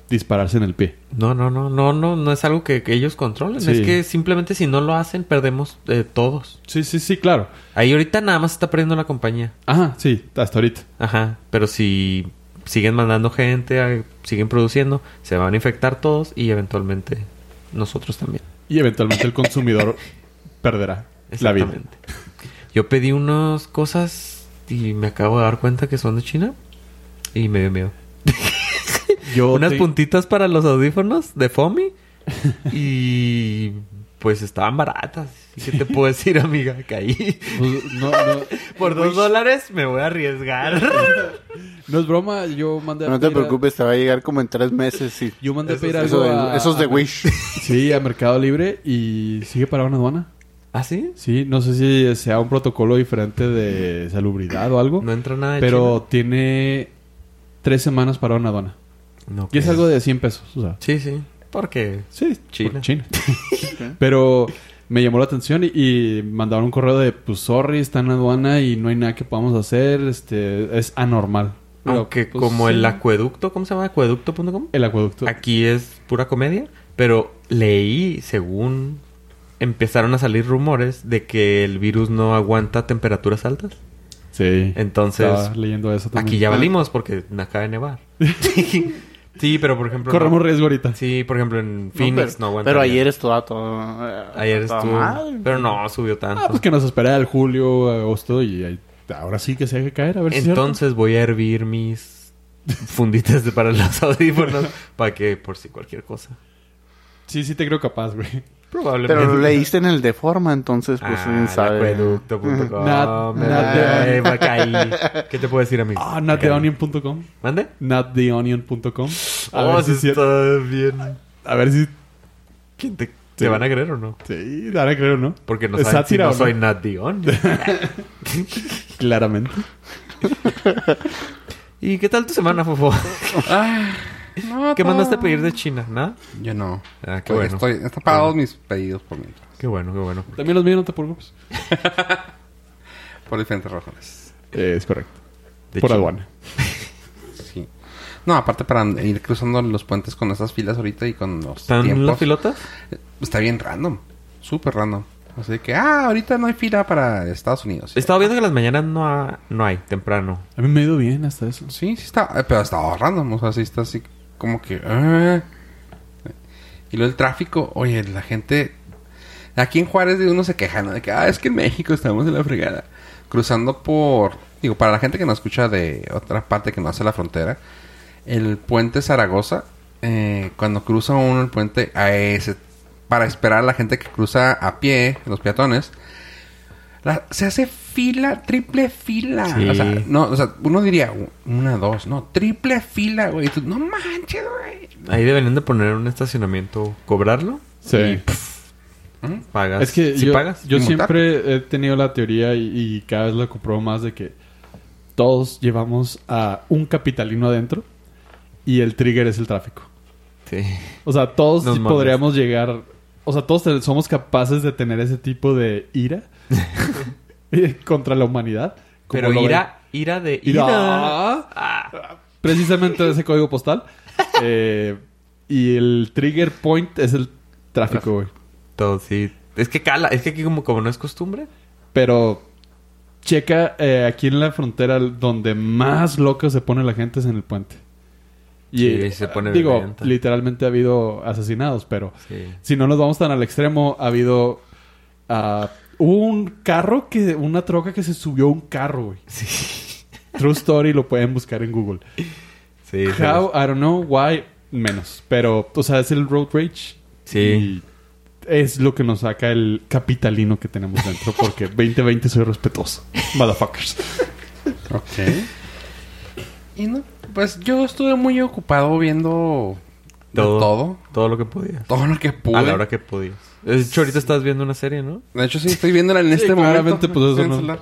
dispararse en el pie. No, no, no, no, no, no es algo que, que ellos controlen, Sí. es que simplemente si no lo hacen perdemos eh, todos. Sí, sí, sí, claro. Ahí ahorita nada más está perdiendo la compañía. Ajá, sí, hasta ahorita. Ajá, pero si siguen mandando gente, eh, siguen produciendo, se van a infectar todos y eventualmente nosotros también. Y eventualmente el consumidor perderá la vida. Exactamente. Yo pedí unas cosas y me acabo de dar cuenta que son de China y me dio miedo. Yo Unas te- puntitas para los audífonos de Fomi y pues estaban baratas. ¿Y ¿Qué te puedo decir, amiga? Caí. Pues, no, no, Por dos dólares me voy a arriesgar. no es broma, yo mandé a No te pedir a- preocupes, te va a llegar como en tres meses. Y... Yo mandé a pedir Eso algo a- de, esos de a- Wish. Sí, a Mercado Libre y sigue parado en aduana. ¿Ah, sí? Sí, no sé si sea un protocolo diferente de salubridad o algo, No entra nada de pero tiene tres semanas parado en aduana. China. No, Y es creo. algo de 100 pesos, o sea. Sí, sí. Porque Sí, China. por China. Pero me llamó la atención y, y mandaron un correo de, pues, sorry, está en aduana y no hay nada que podamos hacer, este, es anormal. Pero, Aunque pues, como sí, el acueducto, ¿cómo se llama? Acueducto.com. El acueducto. Aquí es pura comedia, pero leí, según empezaron a salir rumores de que el virus no aguanta temperaturas altas. Sí. Entonces, Estaba leyendo eso también. Aquí ya valimos porque acaba de nevar. sí, pero por ejemplo... Corremos riesgo ahorita. Sí, por ejemplo en Phoenix pero, no, aguanta. pero ayer estuvo ah, todo. eh, Ayer toda estuvo... madre. Pero no, subió tanto. Ah, pues que nos espera el julio, agosto y ahí- ahora sí que se deje caer, a ver si es cierto. Entonces voy a hervir mis funditas de- para los audífonos para que por si cualquier cosa. Sí, sí te creo capaz, güey. Probablemente. Pero lo leíste en el de forma, entonces, pues, Ah, quién sabe. acueducto.com. Not- Me- not the- eh, me caí. ¿Qué te puedo decir, amigo? Ah, Me caí. nottheonion.com. ¿Mande? Nottheonion.com. A, oh, ver si sí es cierto. está bien. a ver si... ¿Quién te, Sí. ¿Te van a creer o no? Sí, ahora creo, ¿no? Porque no ¿Es saben si sátira no o soy Nat Dion. Claramente. ¿Y qué tal tu semana, Fofo? Ah, no, ¿Qué todo- mandaste a pedir de China? ¿Nada? Yo no. Ah, qué Oye, bueno. Estoy, están pagados mis pedidos por mientras. Qué bueno, qué bueno. También los míos, no te preocupes. Por diferentes razones. Eh, es correcto. De Por China. aduana. Sí. No, aparte para ir cruzando los puentes con esas filas ahorita y con los ¿Están tiempos. las pilotas? Está bien random. Súper random. Así que, ah, ahorita no hay fila para Estados Unidos. Estaba viendo que las mañanas no, ha- no hay, temprano. A mí me ha ido bien hasta eso. Sí, sí está. eh, Pero está random. O sea, sí está así como que... ah. Y luego el tráfico. Oye, la gente... Aquí en Juárez de uno se queja, ¿no? De que, ah, es que en México estamos en la fregada. Cruzando por... Digo, para la gente que no escucha de otra parte que no hace la frontera. El puente Zaragoza. eh, cuando cruza uno el puente... a ese- para esperar a la gente que cruza a pie, los peatones. la- se hace fila, triple fila. Sí. O sea, no, o sea, uno diría u- una, dos, no, triple fila, güey. Y tú, No manches, güey. Ahí deberían de poner un estacionamiento, cobrarlo. Sí. Y, pff, pagas. Es que si yo, pagas. yo ¿Y multar? siempre he tenido la teoría y, y cada vez la compruebo más de que todos llevamos a un capitalino adentro y el trigger es el tráfico. Sí. O sea, todos Nos sí mames. podríamos llegar... O sea, todos te- somos capaces de tener ese tipo de ira eh, contra la humanidad. como Pero lo ira, ira de ven. ira. Ira. Ah. Ah. Precisamente de ese código postal. Eh, y el trigger point es el tráfico, güey. Todo, sí. Es que cala, es que aquí como, como no es costumbre. Pero checa eh, aquí en la frontera donde más loca se pone la gente es en el puente. Y Sí, eh, se pone digo, violenta. literalmente ha habido asesinados, pero Sí. si no nos vamos tan al extremo, ha habido ah, hubo un carro que una troca que se subió a un carro, güey. Sí. True story lo pueden buscar en Google. Sí. se How I don't know why menos, pero o sea, es el road rage. Sí. Y es lo que nos saca el capitalino que tenemos dentro. Porque 2020 soy respetuoso. Motherfuckers. Ok. Y no, pues yo estuve muy ocupado viendo ¿De todo? Todo lo que podías. Todo lo que pude. A la hora que podías. De hecho, ahorita estás viendo una serie, ¿no? De hecho, sí, estoy viéndola en este claramente, momento. pues, eso En no. celular.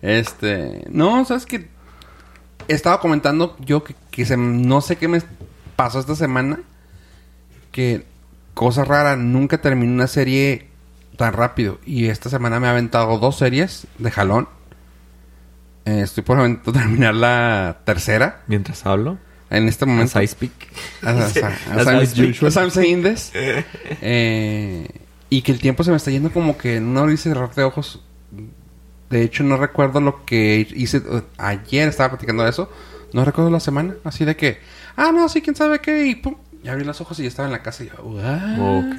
Este. No, sabes que. Estaba comentando yo que, que se- no sé qué me pasó esta semana. Que. Cosa rara, nunca terminé una serie tan rápido. Y esta semana me ha aventado dos series de jalón. Eh, estoy por avent- terminar la tercera. Mientras hablo. En este En momento. Speak. As- as- as- As as I I'm- speak. as I'm saying this. Eh, y que el tiempo se me está yendo como que en un abrir y cerrar de ojos. De hecho, no recuerdo lo que hice. eh, Ayer estaba platicando de eso. No recuerdo la semana. Así de que, ah, no, sí, quién sabe qué. Y pum, ya abrí los ojos y ya estaba en la casa. Y yo, "Ah". Ok.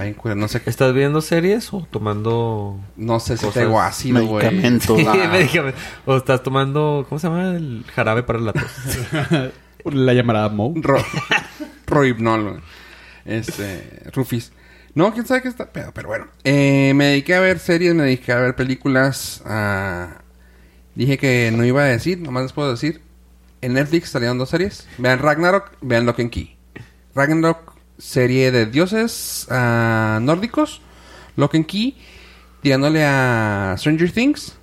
Ay, cura, no sé, qué- ¿Estás viendo series o tomando no sé si Cosas- tengo ácido, güey. Medicamentos. Sí, Ah. medicamento. O estás tomando, ¿cómo se llama? El jarabe para la tos. La llamará Mo. Ro Roibnol, güey. Este, Rufis. No, quién sabe qué está pedo, pero bueno. Eh, me dediqué a ver series, me dediqué a ver películas. ah, dije que no iba a decir, nomás les puedo decir. En Netflix salieron dos series. Vean Ragnarok, vean Lock Key. Ragnarok, serie de dioses ah, nórdicos. Lock Key, tirándole a Stranger Things.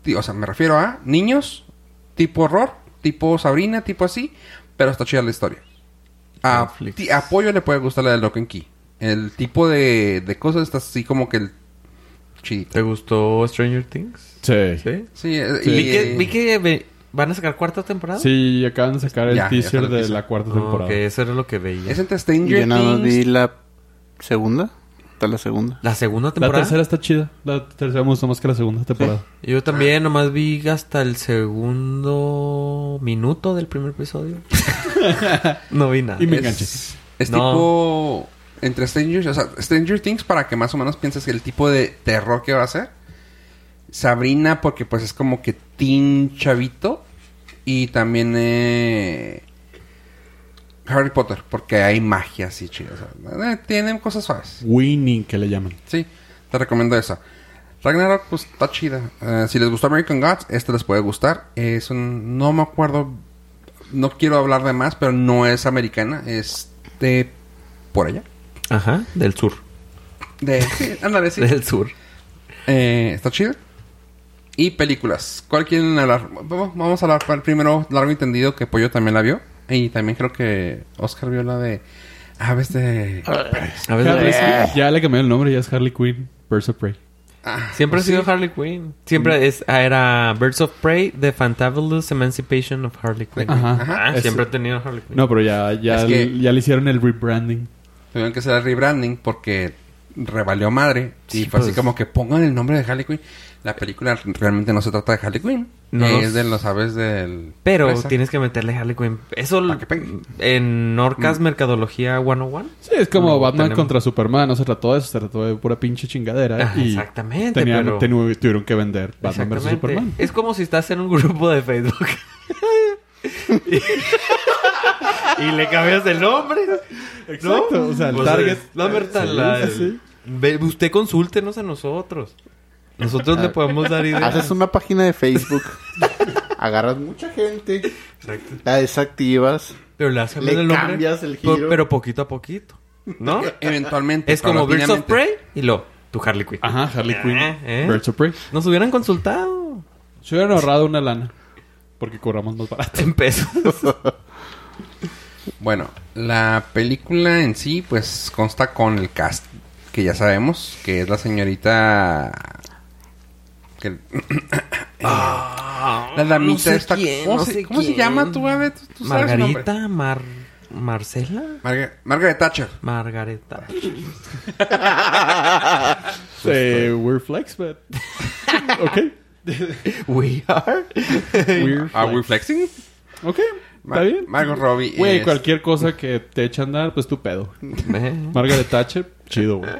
Ti- O sea, me refiero a niños, tipo horror, tipo Sabrina, tipo así. Pero está chida la historia. A, Netflix. ti- a Pollo le puede gustar la de Lock and Key. El tipo de, de cosas está así como que el chidita. ¿Te gustó Stranger Things? Sí. Sí. Sí, eh, Sí. y- Vi que, vi que ve- van a sacar cuarta temporada. Sí, acaban de sacar el Ya, ya teaser salió el de teaser. la cuarta Ah, temporada. ok, eso era lo que veía. Es entre Stranger Yo nada más Things. vi la segunda. Está la segunda. ¿La segunda La temporada? tercera está chida. La tercera me gustó más que la segunda temporada. Yo también nomás vi hasta el segundo minuto del primer episodio. no vi nada. Y me Es- enganché. Es No. tipo entre Stranger, o sea, Stranger Things para que más o menos pienses el tipo de terror que va a ser. Sabrina porque pues es como que teen chavito y también eh, Harry Potter porque hay magia así chida, o sea, eh, tienen cosas suaves. Winning, que le llaman. Sí, te recomiendo esa. Ragnarok, pues está chida. Eh, si les gustó American Gods, esta les puede gustar. Es un. No me acuerdo. No quiero hablar de más, pero no es americana. Es de. Por allá. Ajá, del sur. De. Sí, ándale, sí. Del sur. Eh, está chida. Y películas. ¿Cuál quieren hablar? Vamos vamos a hablar para el primero largo y tendido que Pollo también la vio. Y también creo que Oscar vio la de. Aves de. A Harley- veces ya le cambié el nombre, ya es Harley Quinn, Birds of Prey. Ah, Siempre ha sí. sido Harley Quinn. Mm. Siempre es, ah, era Birds of Prey, The Fantabulous Emancipation of Harley Quinn. Ajá. Ah, Ese. siempre he tenido Harley Quinn. No, pero ya, ya, Es que- ya le hicieron el rebranding. Tuvieron que hacer el rebranding porque revalió madre. Y Sí, fue así pues. como que pongan el nombre de Harley Quinn. La película realmente no se trata de Harley Quinn. No, Eh, no es sé. de los aves del... Pero presa. tienes que meterle Harley Quinn. Eso Pa' que pegue. en Orcas Mercadología 101. Mm. Sí, es como Luego Batman tenemos- contra Superman, no se trató de eso, se trató de pura pinche chingadera. Ah, y exactamente, tenían- pero- tenu- tuvieron que vender Batman vs Exactamente. Superman. Es como si estás en un grupo de Facebook. y, y le cambias el nombre. Exacto, o sea, el Pues, target. es- La verdad, la- sí, sí. Ve- usted consúltenos a nosotros. Nosotros Ah. le podemos dar Haces ideas. una página de Facebook. agarras mucha gente. Exacto. La desactivas. Pero le, hacen Le el nombre, cambias el po- giro. Pero poquito a poquito. ¿No? Eventualmente. es como Birds of paulatinamente. Prey y lo, tu Harley Quinn. Ajá, Harley Ah, Quinn, ¿eh? Birds of Prey. Nos hubieran consultado. Se hubieran ahorrado una lana, porque cobramos más barato. 100 pesos. Bueno, la película en sí pues consta con el cast que ya sabemos. Que es la señorita... que- Eh, Ah, la damita esta... ¿Cómo, se, cómo se llama tu ave? ¿Tú, tú sabes su nombre. Margarita, Mar... Marcela, Marga- Margaret Thatcher. Margareta. Pues, Eh, we're flex, but... ok. We are. We're ¿Are we Ah, flex. flexing? Ok, está Ma- bien. Margot Robbie. Güey, es- cualquier cosa que te eche a andar, pues tu pedo. Eh, Margaret Thatcher, chido, güey.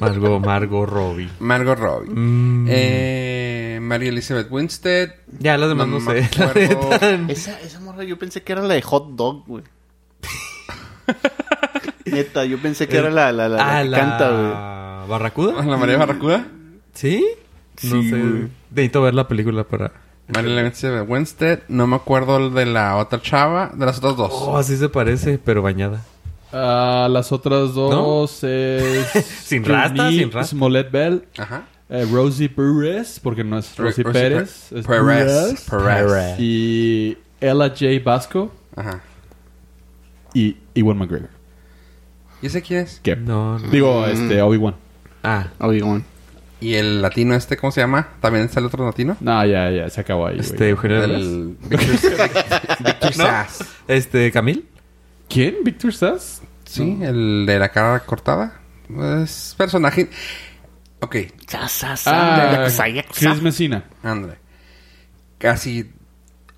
Margo, Margo Robbie. Margot Robbie. Mm. Eh, María Elizabeth Winstead. Ya las demás no, No me sé. la acuerdo. neta. Esa, esa morra yo pensé que era la de hot dog, güey. Neta, yo pensé que era la, la, la, la Ah, que la canta, güey. ¿A ¿Barracuda? La María Barracuda. ¿Sí? No Sí, sé. güey. Necesito ver la película para. Marilyn Manson de Winstead. No me acuerdo el de la otra chava. De las otras dos. Oh, así se parece, pero bañada. Ah, las otras dos es... Sin rastas, Junie sin rastas. Smollett Bell. Ajá. eh, Rosie Perez, porque no es Rosie Rosie Pérez. Pe- es Perez. Perez. Perez. Y Ella J. Basco Ajá. y Ewan McGregor. ¿Y ese quién es? Que- No, no. Digo, este, Obi-Wan. Ah, Obi-Wan. ¿Y el latino este, cómo se llama? ¿También sale otro latino? No, ya, ya, se acabó ahí, güey. este, Eugenio Derbez. El... Victor Victor ¿No? Sass. Este, Camil. ¿Quién? ¿Victor Sass? Sí, el de la cara cortada. Es personaje... Ok, Ah, Chris Messina. André. Casi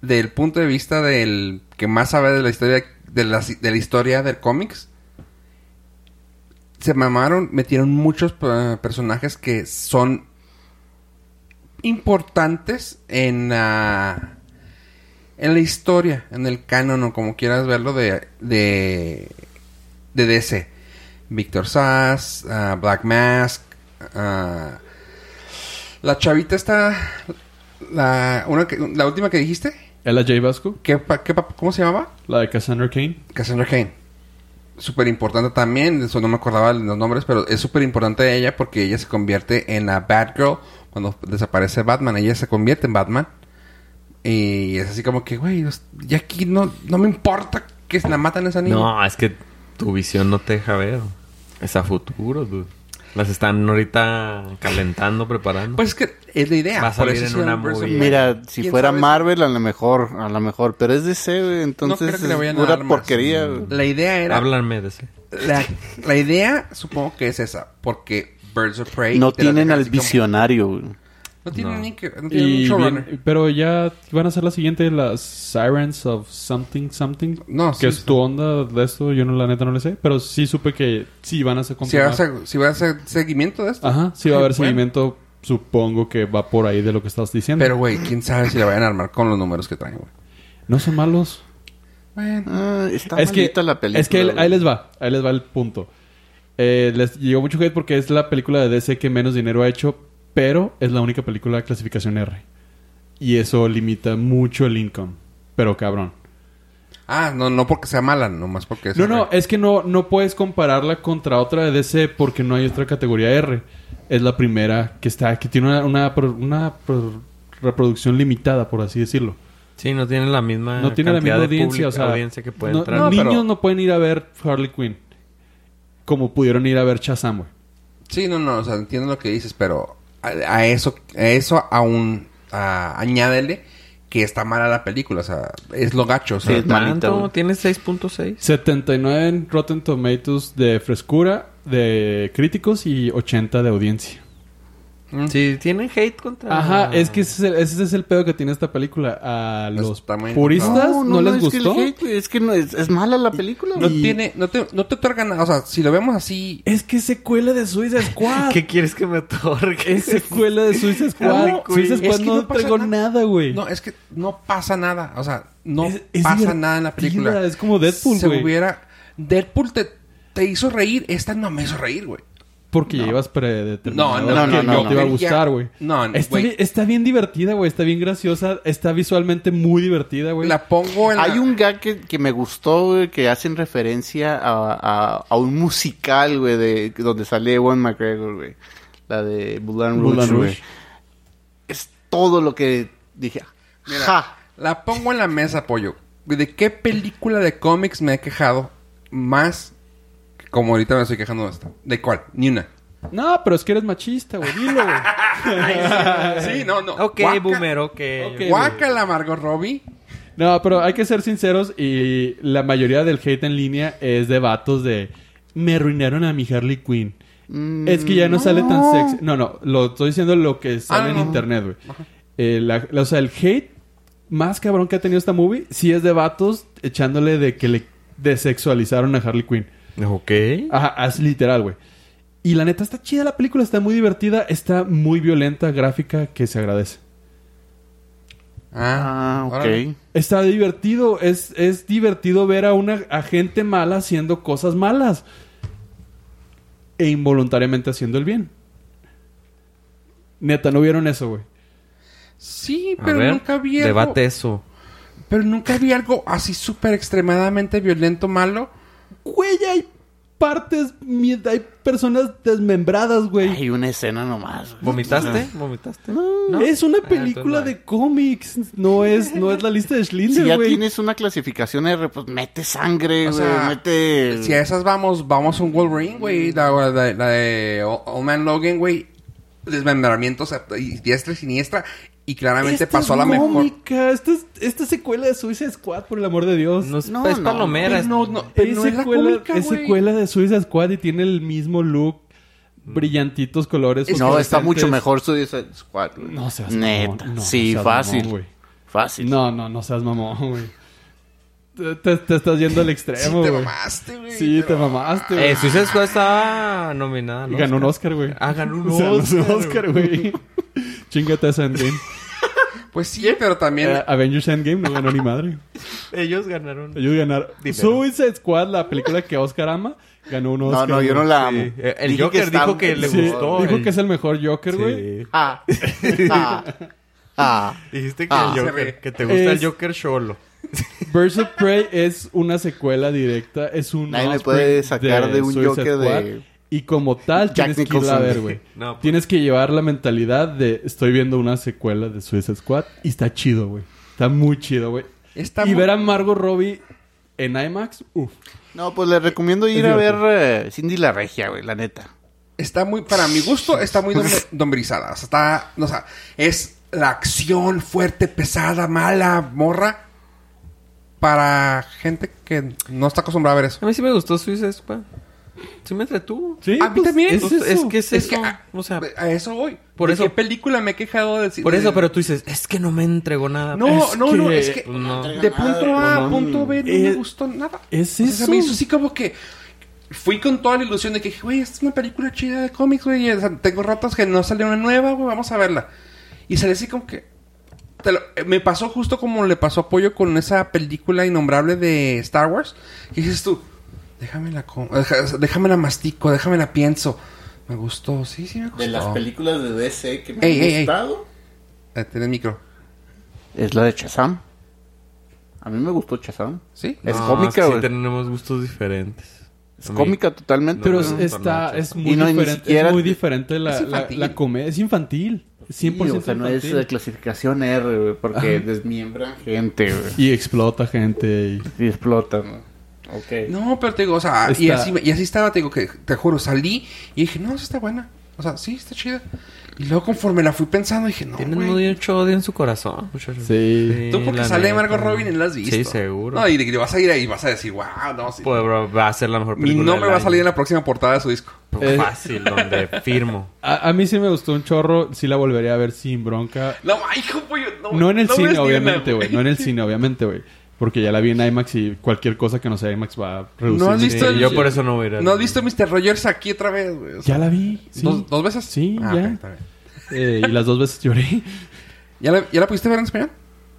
del punto de vista del que más sabe de la historia de la, de la historia del cómics. Se mamaron, metieron muchos eh, personajes que son importantes en la en la historia, en el canon o como quieras verlo de de, de DC. Victor Sass, ah, Black Mask, ah, la chavita está. La, una que- la última que dijiste. Ella J. Basco. ¿Qué, pa- qué pa- ¿Cómo se llamaba? La de Cassandra Kane. Cassandra Kane. Súper importante también. Eso no me acordaba de los nombres, pero es súper importante ella porque ella se convierte en la Batgirl cuando desaparece Batman. Ella se convierte en Batman. Y es así como que, güey, los- ya aquí no, no me importa que la matan a esa niña. No, es que tu visión no te deja ver. Es a futuro, dude. Las están ahorita calentando, preparando. Pues es que es la idea. Va a salir en hicieron una Birds of movie. Prey. Mira, si ¿Quién fuera sabe? Marvel, a lo mejor, a lo mejor. Pero es DC, güey, No entonces creo que le es vayan a pura dar más. porquería. güey. La idea era Háblanme de ese. La, la idea supongo que es esa, porque Birds of Prey... No te la tienen dejan al así como- visionario, güey. No tienen No. ni que... No tienen un Y showrunner. bien- pero ya van a ser la siguiente, las Sirens of Something Something. No, que sí, es sí. tu onda de esto, yo no, la neta no le sé. Pero sí supe que sí van a ser si, va a ser- si va a hacer seguimiento de Ah. esto. Ajá, sí va a haber Bueno. seguimiento. Supongo que va por ahí de lo que estás diciendo. Pero, güey, quién sabe si la vayan a armar con los números que traen, güey. no son malos. Bueno, Ah, está es que, malita la película. es que ahí- güey. ahí les va, ahí les va el punto. Eh, les llegó mucho hate porque es la película de DC que menos dinero ha hecho, pero es la única película de clasificación R. Y eso limita mucho el income. Pero cabrón. Ah, no, no porque sea mala, nomás porque... es- No, no, es que no, no puedes compararla contra otra de DC porque no hay otra categoría R. Es la primera que está, que tiene una, una pro- una pro- reproducción limitada, por así decirlo. Sí, no tiene la misma No tiene la misma cantidad de audiencia, público- o sea, audiencia que puede no- entrar. no, pero- niños no pueden ir a ver Harley Quinn como pudieron ir a ver Shazam, güey. Sí, no, no, o sea, entiendo lo que dices, pero a, a eso a eso aún ah, añádele que está mala la película, o sea, es lo gacho, o sea... Sí. malita, ¿Tanto? güey. Tiene 6.6. 79 en Rotten Tomatoes de frescura de críticos y 80 de audiencia. mm, Sí, tienen hate contra... Ajá, es que ese es, el, ese es el pedo que tiene esta película. A Los los tamaños. puristas no, les es que el gustó. hate, güey, es que no, es, es mala la película. No güey. tiene... No te, no te otorga nada, o sea, si lo vemos así... Es que es secuela de Suiza Squad. ¿Qué quieres que me otorgue? es secuela de Suiza Harley Squad. Quinn. Suiza Squad Es que no, no pasa entregó nada. nada, güey. No, es que no pasa nada. O sea, no Es- es pasa nada en la divertida, película. es como Deadpool, Se güey. hubiera... Deadpool te, te hizo reír. Esta no me hizo reír, güey. Porque ya ibas No, predeterminado. no, no, que no, no, te iba a no. gustar, güey. No, no, está, güey. bien, está bien divertida, güey. Está bien graciosa. Está visualmente muy divertida, güey. La pongo en la- Hay un gag que, que me gustó, güey, que hacen referencia a, a- a un musical, güey, de, donde sale Ewan McGregor, güey. La de Moulin Rouge, Moulin güey. Rouge. Es todo lo que dije. Ah, Mira, ¡Ja! Eh, La pongo en la mesa, pollo. ¿De qué película de cómics me he quejado más que como ahorita me estoy quejando de esta? ¿De cuál? Ni una. No, pero es que eres machista, güey. Dilo, güey. Sí, no, no. Ok, Guaca- boomer, ok. Ok. Guácala, Margot Robbie. No, pero hay que ser sinceros y la mayoría del hate en línea es de vatos de me arruinaron a mi Harley Quinn. Mm, es que ya no, sale tan sexy. No, no, lo estoy diciendo lo que sale Ah, en no. internet, güey. Eh, la- la- o sea, el hate más cabrón que ha tenido esta movie sí es de vatos echándole de que le desexualizaron a Harley Quinn. Ok. Ajá, es literal, güey. Y la neta está chida la película, está muy divertida, está muy violenta, gráfica, que se agradece. Ah, ok. órale. Está divertido, es, es divertido ver a una a gente mala haciendo cosas malas. E involuntariamente haciendo el bien. Neta, no vieron eso, güey. Sí, A pero ver, nunca vi algo... Debate eso. Pero nunca vi algo así súper extremadamente violento, malo. Güey, hay partes... mi- Hay personas desmembradas, güey. Hay una escena nomás. güey. ¿Vomitaste? ¿Vomitaste? ¿No? Es una Ah, película entonces de cómics. No es, no es la lista de Si Schlinder, ya güey. tienes una clasificación R, pues mete sangre, O güey, sea, mete... Si a esas vamos, vamos a un Wolverine, güey. Mm. La, la- la de O- Old Man Logan, güey. Desmembramientos a- y diestra y siniestra. Y claramente Esta pasó Este es la mejor. cómica, Esta, es- esta secuela de Suicide Squad, por el amor de Dios. No, es, No, es no. palomera. Pero es- no, no, pero es, no es la secuela, cómica, es güey. secuela de Suicide Squad y tiene el mismo look, brillantitos colores. No, está fosforescentes. mucho mejor su Squad, güey. No seas Neta. mamón, no sí, seas fácil. mamón, güey. fácil. no, no, no seas mamón, güey. Te, te- te estás yendo al Sí, extremo, te güey. mamaste, güey. Sí, te pero- mamaste, güey. Eh, Suicide Squad estaba nominada. al Y Ganó un Oscar, güey. Ah, ganó un O sea, Oscar. güey. Chingate esa Endgame. Pues sí, pero también. Eh, Avengers Endgame no ganó ni madre. Ellos ganaron. Ellos ganaron. Dinero. Suicide Squad, la película que Oscar ama, ganó un No, Oscar. no, yo no güey. la amo. Sí. El Dije Joker está- dijo que le Sí, gustó. Dijo el- que es el mejor Joker, güey. Sí. Ah. Ah. Ah. Dijiste que, Ah, el se Joker, ve. que te gusta Es- el Joker solo. Birds of Prey es una secuela directa, es un Nadie me offspring puede sacar de un Suicide Joker de- Y como tal, Jack tienes que irla a Nicholson. ver, güey. No, pues. Tienes que llevar la mentalidad de estoy viendo una secuela de Suicide Squad y está chido, güey. Está muy chido, güey. Está y muy- ver a Margot Robbie en IMAX, uff. No, pues les recomiendo ir a ver divertido. eh, Cindy la Regia, güey, la neta. Está muy, para mi gusto, está muy dombre- dombrizada. O sea, está, o sea, es la acción fuerte, pesada, mala, morra. Para gente que no está acostumbrada a ver eso. A mí sí me gustó Suicide Squad. Sí me entretuvo. Sí, pues, A mí también. Pues, Es, Es, eso. es que es, Es eso. que, ah, o sea, A eso voy. Por ¿De eso- qué película me he quejado de por de- eso, pero tú dices, es que no me entregó nada. pues, No, Es no, no, que- es que No. de punto A a punto B no Eh, me gustó nada. es O sea, eso. me hizo así como que fui con toda la ilusión de que, güey, esta es una película chida de cómics, güey. o sea, tengo ratos que no sale una nueva, güey, vamos a verla. Y salí así como que. te lo- eh, me pasó justo como le pasó apoyo con esa película innombrable de Star Wars. Y dices tú, déjamela, com- deja- déjamela mastico, déjamela pienso. Me gustó, sí, sí me gustó. películas de DC que me Ey, han ey, ey. gustado, Eh, tiene micro. Es la de Chazam. A mí me gustó Chazam. ¿Sí? Es No, cómica, sí güey. tenemos gustos diferentes. Es A mí- cómica totalmente. Pero güey. es- No, no, está, no, es no. muy Y no, ni diferente. siquiera- es muy diferente la, es la- infantil. la comedia. Es infantil. 100% Sí, o sea, no es infantil. de clasificación R, güey, porque desmiembran gente, güey. eh, Y explota gente. y- Y explotan, güey. Ok. No, pero te digo, o sea, y, Está- así, y así estaba, te digo, que te juro, salí y dije, no, sí está buena. O sea, sí, está chida. Y luego conforme la fui pensando, dije, no, Tienen güey. mucho odio en su corazón, muchachos. Sí. Tú porque la sale neta, Margot no. Robin y no la has visto. Sí, seguro. No, y, y vas a ir ahí y vas a decir, wow, no, sí. Pues, bro, va a ser la mejor Mi película. nombre del va a salir en año. la próxima portada de su disco. Eh. Fácil, donde firmo. A, a mí sí me gustó un chorro. Sí la volvería a ver sin bronca. No, ay, hijo, pollo, no. No en el ves ni cine, una, obviamente, güey. No en el cine, obviamente, güey. Porque ya la vi en IMAX y cualquier cosa que no sea IMAX va a reducir. ¿No has mi- visto Sí, el- yo por eso no voy a ir a- ¿No has visto Mr. Rogers aquí otra vez, güey? O sea, Ya la vi. sí. ¿dos, dos veces? Sí, Ah, ya. ok, está bien. Eh, y las dos veces lloré. ¿Ya la, ¿Ya la pudiste ver en español?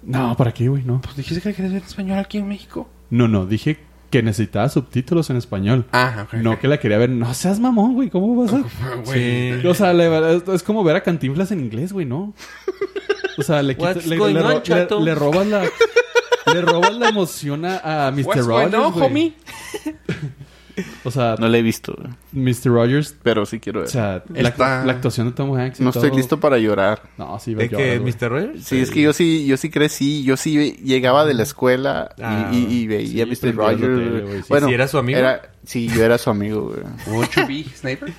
No, ¿para qué, güey? No. Pues dijiste que la querías ver en español aquí en México. No, no. Dije que necesitaba subtítulos en español. Ah, ok. No que la quería ver. No seas mamón, güey. ¿Cómo vas a...? Güey. Sí. O sea, le- es, es como ver a Cantinflas en inglés, güey, ¿no? O sea, le, quita- What's le, going le ro- on, le- chato? le robas la... Le robas la emoción a, a Mr. What's going Rogers, on, güey. homie? O sea, No la he visto, güey, Mr. Rogers... pero sí quiero O ver. sea, Está- la, la actuación de Tom Hanks y no estoy todo. listo para llorar. No, sí, va a ¿De que llorar, güey. Mr. Rogers? Sí, es que yo sí, yo sí crecí, yo sí llegaba de la escuela y- Ah, y, y veía a sí, Mr. prendía Rogers. la tele, güey. güey, sí. Bueno, ¿Sí era su amigo? sí, yo era su amigo, güey. ¿Would you be sniper?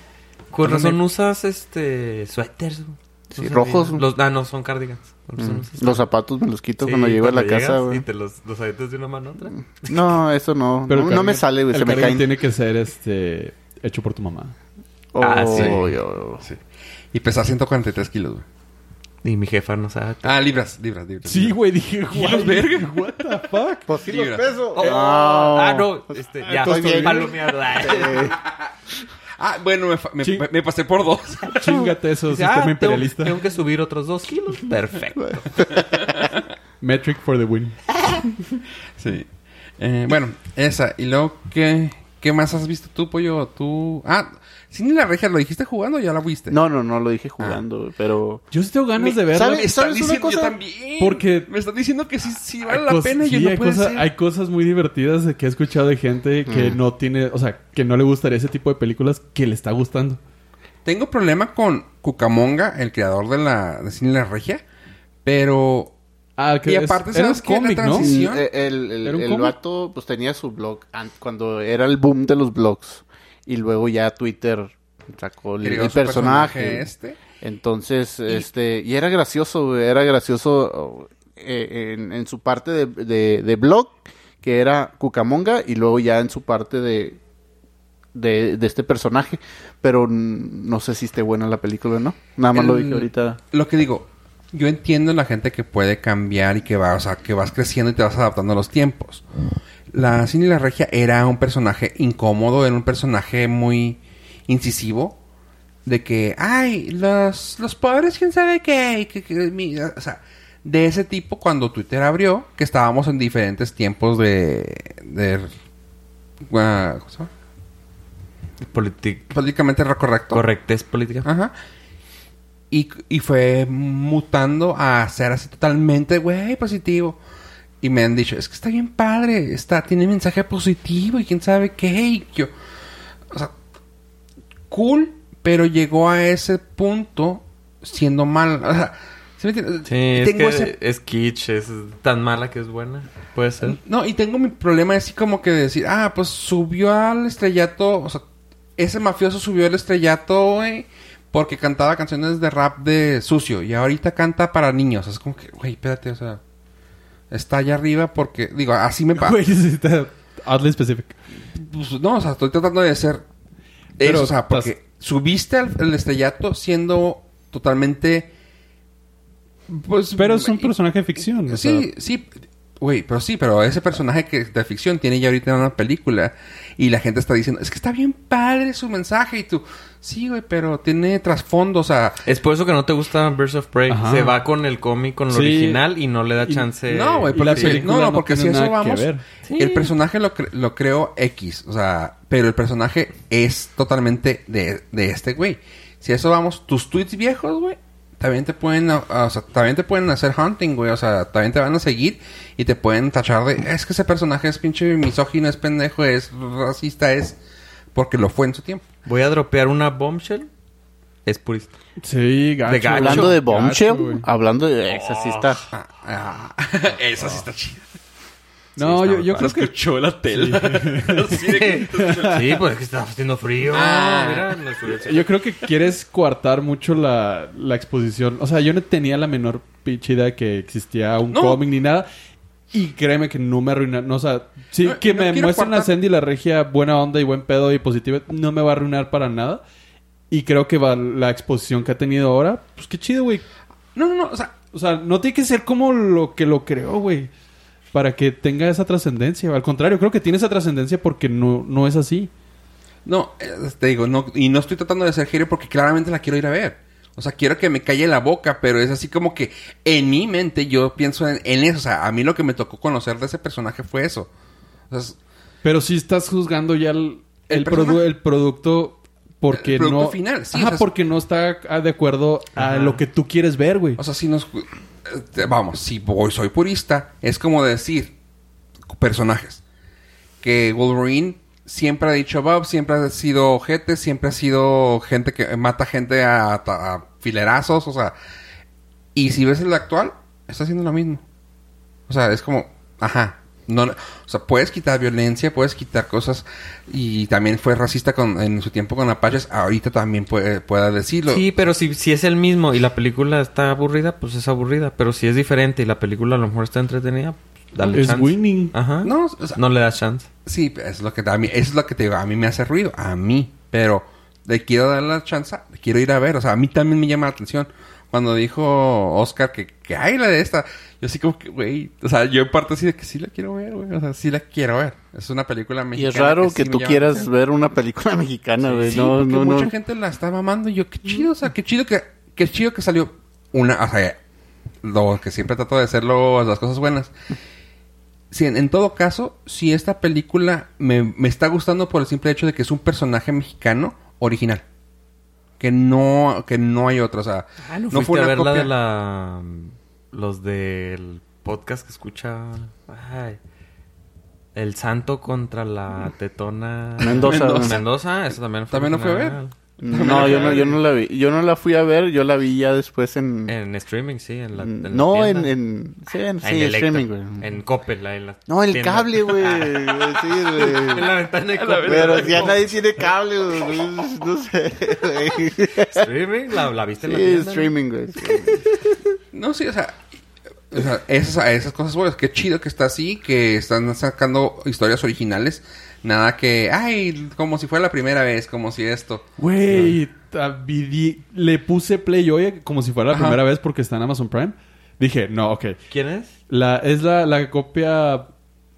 Con No razón me- usas este suéteres. güey. Sí, No rojos, sabía. güey. Los, ah, no, son cardigans. Con razón usas- Mm, Los zapatos me los quito Sí, cuando llego a la cuando casa, llegas güey. Mm. Y te los, los avientas de una mano a otra. No, eso no. Pero el no, no me cardigan- sale, güey. el Se me cardigan caen. tiene que ser, este... Hecho por tu mamá. Oh, Ah, sí. oh, oh. Sí. Y pesar 143 kilos, güey. Y mi jefa no sabe. Ah, libras, libras, libras. Sí, güey, dije, los güey, verga. what the fuck. Pues sí, los Libras. peso. Oh, Oh. Ah, no. Este, ya, Estoy bien. palomeado. ah. Eh, Ah, bueno, me, fa- me- Sí. me- me pasé por dos. Chingate eso, Dice, sistema ah, tengo, imperialista. tengo que subir otros dos kilos. Perfecto. Metric for the win. sí. Eh, bueno, esa. Y luego, ¿qué, ¿Qué más has visto tú, pollo? Tú. Ah, Cindy la Regia, ¿lo dijiste jugando o ya la viste? No, no, no lo dije jugando, pero. Yo sí tengo ganas de verla. ¿Sabes? Están una diciendo cosa? yo también. Porque- Me están diciendo que sí, sí Hay vale la cos- pena y yo sí, no hay, puedo cosas- ser. hay cosas muy divertidas de que he escuchado de gente que no tiene, o sea, que no le gustaría ese tipo de películas que le está gustando. Tengo problema con Cucamonga, el creador de la de Cine La Regia, pero Ah, que Y es- aparte, era un ¿sabes qué? La cómic, ¿no? transición- Mm, eh, El, el, ¿Era un el cómic? vato pues tenía su blog an- cuando era el boom de los blogs y luego ya Twitter sacó el, creó el su personaje. este. Entonces, este, y era gracioso, güey, era gracioso oh, eh, en, en su parte de, de- de blog, que era Cucamonga, y luego ya en su parte de, de, de este personaje, pero mm, no sé si esté buena la película o no. Nada más lo El- dije ahorita. Lo que digo, yo entiendo la gente que puede cambiar y que va, o sea, que vas creciendo y te vas adaptando a los tiempos. La Cindy La Regia era un personaje incómodo, era un personaje muy incisivo. De que, ay, los, los pobres, quién sabe qué. y que- que mi-". o sea, de ese tipo, cuando Twitter abrió, que estábamos en diferentes tiempos de. de ah, ¿Cómo se llama? Politi- Políticamente correcto. correctez política. Ah. Ajá. Y, y fue mutando a ser así totalmente, güey, positivo. Y me han dicho, es que está bien padre, está, tiene mensaje positivo y quién sabe qué. Y yo, o sea, cool, pero llegó a ese punto siendo mal. O sea, ¿sí me entiendes? Sí, es Tengo que ese- es kitsch, es tan mala que es buena. Puede ser. No, y tengo mi problema así como que decir, ah, pues subió al estrellato, o sea, ese mafioso subió al estrellato, güey, porque cantaba canciones de rap de sucio y ahorita canta para niños. Es como que, güey, espérate, o sea, está allá arriba porque, digo, así me pasa. Güey, sí está- Hazle específico. Pues, no, o sea, estoy tratando de ser. Pero eso, o sea, porque estás- subiste al al estrellato siendo totalmente. Pues, Pero es un y- personaje de ficción. o Sí, sí. Güey, pero sí, pero ese personaje que de ficción tiene ya ahorita una película y la gente está diciendo, es que está bien padre su mensaje y tú, sí, güey, pero tiene trasfondo, o sea, Es por eso que no te gusta Birds of Prey. Ajá. Se va con el cómic, con lo Sí. original y no le da Y- chance. no, güey, y la porque, si- película no, no, no porque si tiene eso nada que vamos, ver. el personaje lo, cre- lo creo X, o sea, pero el personaje es totalmente de, de este güey. Si a eso vamos, tus tweets viejos, güey, también te pueden, ah, ah, o sea, también te pueden hacer hunting, güey, o sea, también te van a seguir y te pueden tachar de, es que ese personaje es pinche misógino, es pendejo, es racista, es porque lo fue en su tiempo. Voy a dropear una bombshell. Es purista. sea. Sí, gacho. De gacho. Hablando de gacho, Bombshell, güey. hablando de exorcista. Ah, ah, esa sí está chida. Ah, No, Sí, yo, yo está muy creo que... escuchó la tela. sí, pues es que está haciendo frío. Ah. Mira, nos hubiera- Yo creo que quieres coartar mucho la, la exposición. O sea, yo no tenía la menor pinche idea que existía un No. cómic ni nada. Y créeme que no me arruina. No, o sea, sí No, que no me quiero muestren a coartar. Sandy la regia buena onda y buen pedo y positiva. No me va a arruinar para nada. Y creo que va la exposición que ha tenido ahora. Pues qué chido, güey. No, no, no, o sea, O sea, no tiene que ser como lo que lo creó, güey. Para que tenga esa trascendencia. Al contrario, creo que tiene esa trascendencia porque no, no es así. No, eh, te digo, no, y no estoy tratando de ser giro porque claramente la quiero ir a ver. O sea, quiero que me calle la boca, pero es así como que en mi mente yo pienso en, en eso. O sea, a mí lo que me tocó conocer de ese personaje fue eso. O sea, es- Pero si estás juzgando ya el, El el, produ- personaje. el producto porque El producto no... final, sí, Ajá, o sea, es- porque no está ah, de acuerdo a lo que tú quieres ver, güey. o sea, si nos... eh, te- Vamos, si voy, soy purista, es como decir personajes. Que Wolverine siempre ha dicho Bob, siempre ha sido gente, siempre ha sido gente que mata gente a, a filerazos, o sea... Y si ves el actual, está haciendo lo mismo. O sea, es como, ajá. No, no- o sea, puedes quitar violencia, puedes quitar cosas. Y también fue racista con, en su tiempo con Apaches. Ahorita también puede, pueda decirlo. Sí, pero si, si es el mismo y la película está aburrida, pues es aburrida. Pero si es diferente y la película a lo mejor está entretenida, pues dale es chance. winning. Ajá. No, No, o sea, le das chance. sí, es lo que a mí, es lo que te digo. A mí me hace ruido, a mí. Pero le quiero dar la chance, le quiero ir a ver. O sea, a mí también me llama la atención. Cuando dijo Oscar que, que hay la de esta, yo así como que, güey. O sea, yo en parte así de que sí la quiero ver, güey. O sea, sí la quiero ver. Es una película Y mexicana. es raro sí que, me tú llama la quieras atención. ver una película mexicana, güey. Sí, no, porque no, mucha no. gente la está mamando. Y yo, qué chido, o sea, qué chido que, qué chido que salió una, o sea, lo que siempre trato de hacerlo, las cosas buenas. si en, en todo caso, si esta película me, me está gustando por el simple hecho de que es un personaje mexicano original. Que no, que no hay otra. O sea, Ah, no, no fuiste fue a una ver la copia. de la... mm, Los del podcast que escucha... ay, el santo contra la tetona... Mendoza. Mendoza. Mendoza, eso también fue También lo fui a ver. original. No, yo no, yo no la vi. Yo no la fui a ver, yo la vi ya después en... En streaming, sí, en la... en la Mm, no, en, tienda. en... Sí, en, Ah, sí, Electra. streaming, güey. En Coppel, ahí en la No, el tienda. cable, güey. Sí, en güey. la ventana de Coppel. Pero ya nadie tiene cable, güey. No sé, güey. ¿Streaming? ¿La, la viste en la Sí, tienda? streaming, güey. No, sí, o sea. o sea, esas, a esas cosas buenas. Qué chido que está así, que están sacando historias originales. Nada que, ay, como si fuera la primera vez, como si esto. Güey, a Vidi- le puse play hoy como si fuera la Ajá. primera vez porque está en Amazon Prime. Dije, no, ok. ¿Quién es? La, es la, la copia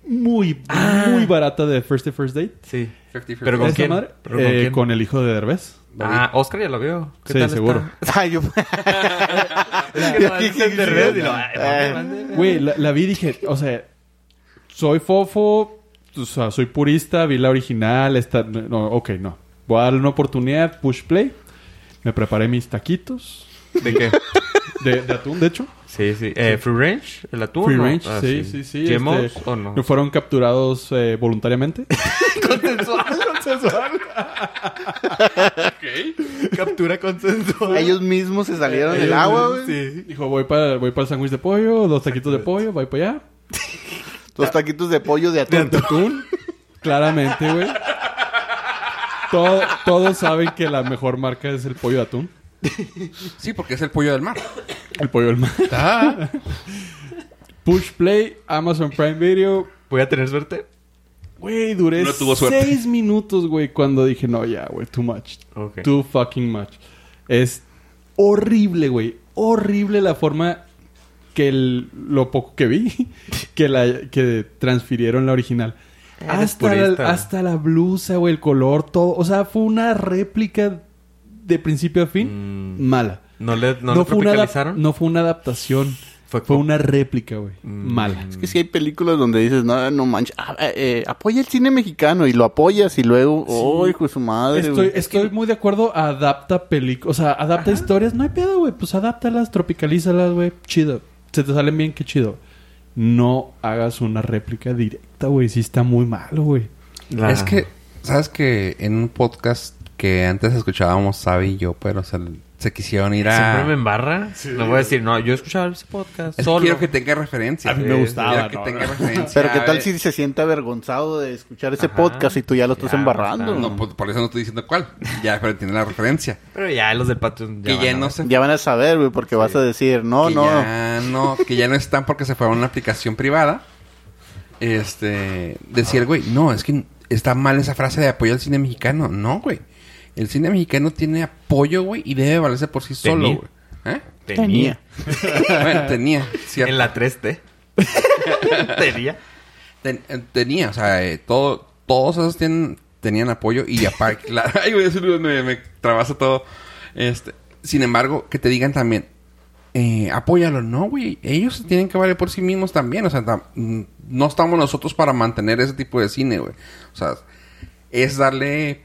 muy, Ah. muy barata de First Day First Date. Sí. 50 Pero con ¿Esta quién? madre? ¿Pero con Eh, quién? con el hijo de Derbez. Ah, Oscar ya lo vio. ¿Qué Sí, tal está? seguro. Ay, yo... Es que lo dicen de redes y lo- ay, Ah. mande, mande. Güey, la, la vi y dije, o sea, soy fofo, o sea, soy purista, vi la original, está... No, ok, no. Voy a darle una oportunidad, push play. Me preparé mis taquitos ¿De qué? de, de atún, de hecho. Sí, sí. Eh, ¿Free range? ¿El atún? Free no? range, Ah, sí, sí, sí. ¿GMOs este, o no? Fueron capturados eh, voluntariamente. Captura consensual. Ellos mismos se salieron del Ellos- agua, Ah, güey. Sí. Dijo, voy para, voy para el sándwich de pollo, dos taquitos de pollo, voy para allá. Los taquitos de pollo de atún. Atún, claramente, güey. Todo- todos saben que la mejor marca es el pollo de atún. Sí, porque es el pollo del mar. El pollo del mar. Ah, Push Play, Amazon Prime Video. ¿Voy a tener suerte? Güey, duré No tuvo suerte. seis minutos, güey, cuando dije, no, ya, güey, too much. Ok. Too fucking much. Es horrible, güey. Horrible la forma que el- lo poco que vi, que la que transfirieron la original. Ah, Eres Hasta purista, la, güey. hasta la blusa, güey, el color, todo. O sea, fue una réplica de principio a fin mala. Mm, ¿No le, no le fue una adap- tropicalizaron? no fue una adaptación. Fue Fue, como- Mm. una réplica, güey. Mala. Es que si hay películas donde dices, no, no manches, ah, eh, eh, apoya el cine mexicano y lo apoyas y luego, oh, hijo de su madre. Estoy, güey". estoy muy de acuerdo. Adapta películas. O sea, adapta historias. No hay pedo, güey. Pues adáptalas, tropicalízalas, güey. Chido. Se te salen bien, qué chido. No hagas una réplica directa, güey. Sí está muy malo, güey. La- Es que, ¿sabes que En un podcast que antes escuchábamos Sabi y yo, pero se, se quisieron ir Siempre me a... embarra. No voy a decir, no, yo escuchaba ese podcast Es que solo. quiero que tenga referencia. A mí me Sí, gustaba, quiero que no, tenga no. referencia. Pero qué A tal ver. si se siente avergonzado de escuchar ese Ajá. podcast y tú ya lo estás Ya, embarrando. bastante. No, pues, por, por eso no estoy diciendo cuál. Ya, pero tiene la referencia. Pero ya los del Patreon que van ya a no ver. se Ya van a saber, güey, porque vas a decir, no, que Oh, no. ya no, que ya no están porque se fueron a una aplicación privada. Este, decir, güey, no, es que está mal esa frase de apoyo al cine mexicano. No, güey. El cine mexicano tiene apoyo, güey, y debe valerse por sí solo, Tenía. güey. ¿Eh? Tenía. Bueno, tenía, cierto. En la 3D. Tenía. Ten- eh, tenía, o sea, eh, todo, todos esos tienen, tenían apoyo y aparte, la- ay, güey, eso me, me trabaza todo. Este, sin embargo, que te digan también, eh, apóyalo, no, güey, ellos se tienen que valer por sí mismos también, o sea, tam- mm, no estamos nosotros para mantener ese tipo de cine, güey. O sea, es darle,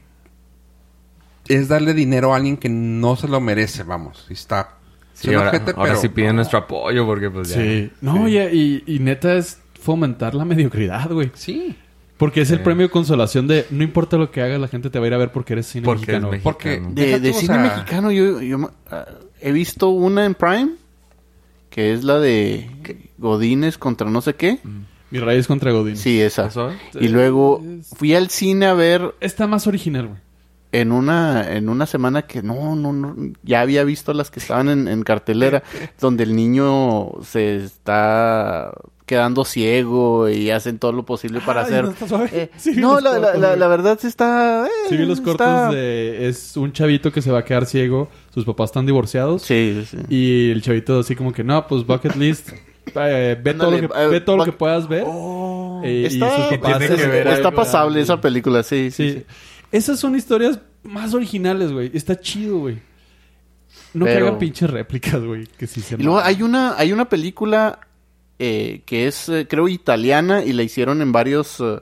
es darle dinero a alguien que no se lo merece, vamos, y está. Sí, suena ahora, ojete, ahora pero- sí piden nuestro apoyo porque pues ya. Sí. No, ya, y, y neta es fomentar la mediocridad, güey. Sí, Porque es el premio de consolación de no importa lo que hagas, la gente te va a ir a ver porque eres cine Porque es mexicano. México. porque... Mexicano. De, deja de tú, o cine sea, mexicano, yo, yo ma- ah, he visto una en Prime, que es la de Godines contra no sé qué. Mi raíz contra Godín. Sí, esa. ¿Eso? Y luego Es- fui al cine a ver Está más original, güey. en una en una semana que no no no ya había visto las que estaban en, en cartelera donde el niño se está quedando ciego y hacen todo lo posible para Ay, hacer no, está suave. Eh, Sí vi no los la, la- cortos, la- güey. la verdad sí está eh, Sí, vi los cortos está- de... Es un chavito que se va a quedar ciego. Sus papás están divorciados. sí sí Y el chavito así como que, no, pues bucket list. eh, ve, todo lo que, Ándale, eh, ve todo lo buck- que puedas ver. Eh, y está, sus papás es- tiene que ver está algo, pasable ¿verdad? esa película sí sí, Sí. sí. Esas son historias más originales, güey. Está chido, güey. No Pero- que hagan pinches réplicas, güey. Que sí se y luego maman. hay una hay una película eh, que es, eh, creo, italiana y la hicieron en varios... eh,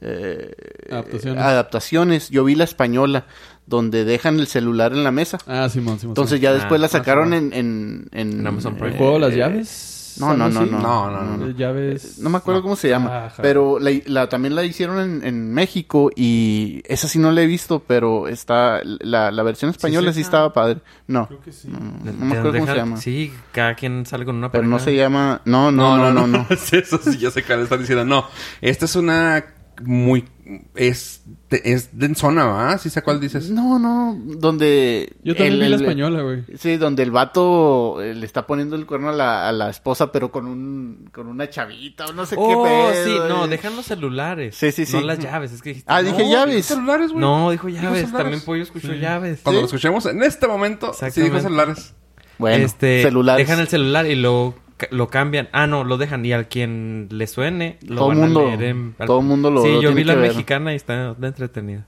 eh, Adaptaciones. adaptaciones. Yo vi la española, donde dejan el celular en la mesa. Ah, Simón, Simón. Entonces Simón. ya Ah, después la ah, sacaron sí. en... ¿En, en, En Amazon Prime. ¿El juego de las eh, llaves? no, no, ¿Algo no, así? no, No, no, no, Eh, Llaves. No me acuerdo cómo se llama, Ajá. pero la, la- también la hicieron en, en México y esa sí no la he visto, pero está la, la versión española sí sí, está. estaba padre. No, Creo que sí. no, no Te- me te acuerdo cómo se dejan- llama. Sí, cada quien sale con una Pero no pareja. se llama... No, no, no, no, no. Sí, Eso sí, ya sé cuál están diciendo. No, esta es una muy... Es, de- es de en zona, ¿verdad? Sí sé cuál dices. No, no, donde... Yo también el- vi la el- española, güey. Sí, donde el vato eh, le está poniendo el cuerno a la, a la esposa, pero con un con una chavita o no sé Oh, qué pedo. sí, no, eh. dejan los celulares. Sí, sí, sí. No las llaves, es que dijiste. Ah, no, dije llaves. celulares, güey. No, dijo Dijo llaves. celulares. También Pollo escuchó llaves. Cuando ¿Sí? lo escuchemos en este momento, sí dijo Exactamente. celulares. Bueno, este, celulares. Dejan el celular y lo, ca- lo cambian. Ah, no, lo dejan. Y al quien le suene, lo Todo van mundo- a leer en- al- todo mundo lo- Sí, lo yo tiene vi la que ver. mexicana y está está entretenida.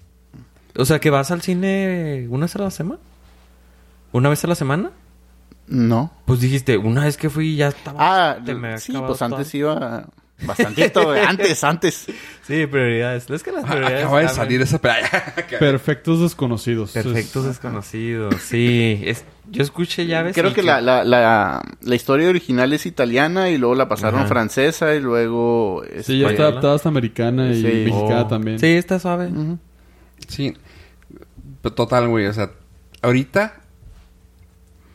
O sea, que vas al cine una vez a la semana. ¿Una vez a la semana? No. Pues dijiste, una vez que fui ya estaba. Ah, te me sí, acababa pues todo. antes iba bastantito, güey, antes, antes. Sí, prioridades. Es que las Ah, prioridades. Acaba de cambian. salir este esa... Perfectos desconocidos. Perfectos desconocidos. Sí. Es, yo escuché llaves. Creo y que la, la, la, la historia original es italiana y luego la pasaron Ajá. francesa y luego... Es- Sí, ya está Española. adaptada hasta americana y Sí. mexicana Oh. también. Sí, está suave. Ujú. Sí. Pero Total, güey. O sea, ahorita...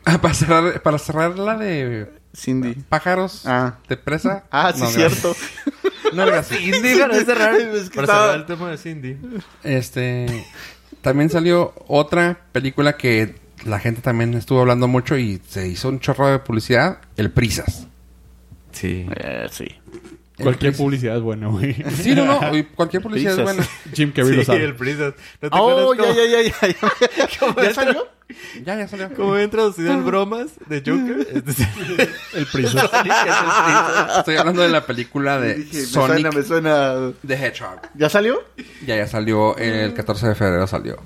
ah, Para cerrar, para cerrar la de Cindy. pájaros Ah. de presa. Ah, sí, No, cierto. gracias. No, gracias. Cindy, para cerrar, Es que para estaba- cerrar el tema de Cindy. Este. También salió otra película que la gente también estuvo hablando mucho y se hizo un chorro de publicidad: El Prisas. Sí. Eh, sí. El Cualquier Prisas. publicidad es buena, güey. Sí, no, no. y Cualquier publicidad Prisas. es buena. Jim Carrey lo sí, sabe. el Prisas. ¿No te Oh, ya, acuerdas ya, ya, ya. ya. cómo- ¿Ya salió? Ya, ya salió. Como bien traducido en bromas de Joker. Este es el- El Prisas. Estoy hablando de la película de Dije, me suena, Sonic me suena. the Hedgehog. ¿Ya salió? Ya, ya salió. El 14 de febrero salió.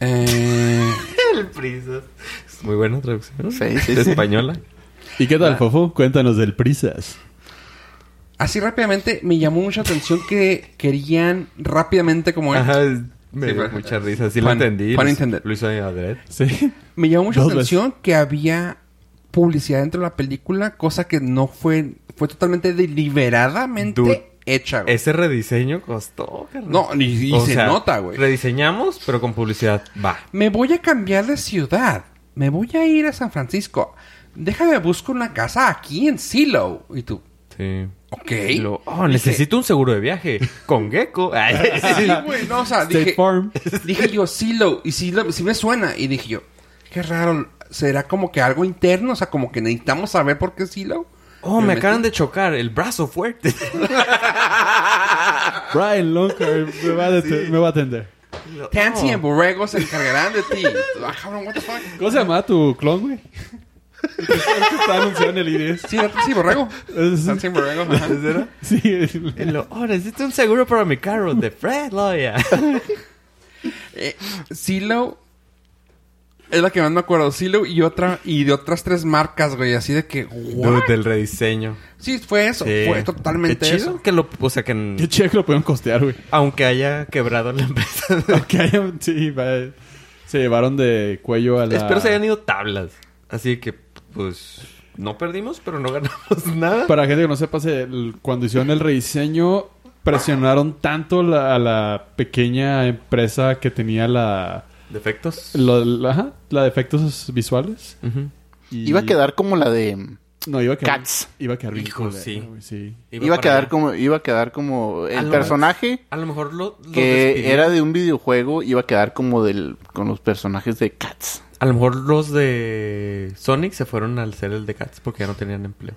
Eh, el Prisas. Es Muy buena traducción. Sí, sí, De sí. Española. ¿Y qué Ah. tal, Fofo? Cuéntanos del Prisas. así rápidamente me llamó mucha atención que querían rápidamente como... Ajá. Me Sí, dio fue- mucha risa. Sí lo Juan- entendí. Juan Lo- entender. Lo hizo Adred. Sí. Me llamó mucha Dos veces. atención que había publicidad dentro de la película, cosa que no fue, fue totalmente deliberadamente Dude, hecha, güey. Ese rediseño costó, carnal. No, y- y O se sea, nota, güey. Rediseñamos, pero con publicidad. Va. Me voy a cambiar de ciudad. Me voy a ir a San Francisco. Déjame busco una casa aquí en Silo. Y tú, Sí. ok. Y luego, oh, necesito un seguro de viaje. Con Gecko. Ay, Sí, sí. Ah, güey, no, o Ah, sea, State dije, Farm. dije yo Silo. Y si me suena. Y dije yo, qué raro. ¿Será como que algo interno? O sea, como que necesitamos saber por qué Silo. Oh, me acaban de chocar. El brazo fuerte. Brian Lonker me va a, dete- me va a atender. Tansy Oh. y Borrego se encargarán de ti. Ah, cabrón, what the fuck. ¿Cómo se llama tu clon, güey? El que está anunciado en el IDS. Sí, era Tansy y Borrego. Es- Tansy y Borrego. ajá. Sí, Y el- lo, oh, necesito un seguro para mi carro. De Fred oh, Loya. Eh, Silo es la que más me acuerdo. Silo y otra y de otras tres marcas, güey. Así de que, what? Del rediseño. Sí, fue eso. Sí. Fue totalmente Qué chido eso. que lo... O sea, que... qué chido que lo pueden costear, güey. Aunque haya quebrado la empresa. Aunque hayan- sí, va- se llevaron de cuello a la... Espero se hayan ido tablas. Así que, pues... No perdimos, pero no ganamos nada. Para gente que no sepa, se- el- cuando hicieron el rediseño, presionaron tanto la- a la pequeña empresa que tenía la... ¿Defectos? lo- la, ajá, la de efectos visuales. Ujú. y- Iba a quedar como la de... No, iba a quedar... Cats. Iba a quedar bien Hijo, culera, sí. güey, sí. Iba, a para quedar allá. como... Iba a quedar como... El lo- personaje A lo mejor lo, lo que despidieron. era de un videojuego iba a quedar como del... Con los personajes de Cats. A lo mejor los de Sonic se fueron al ser el de Cats porque ya no tenían empleo.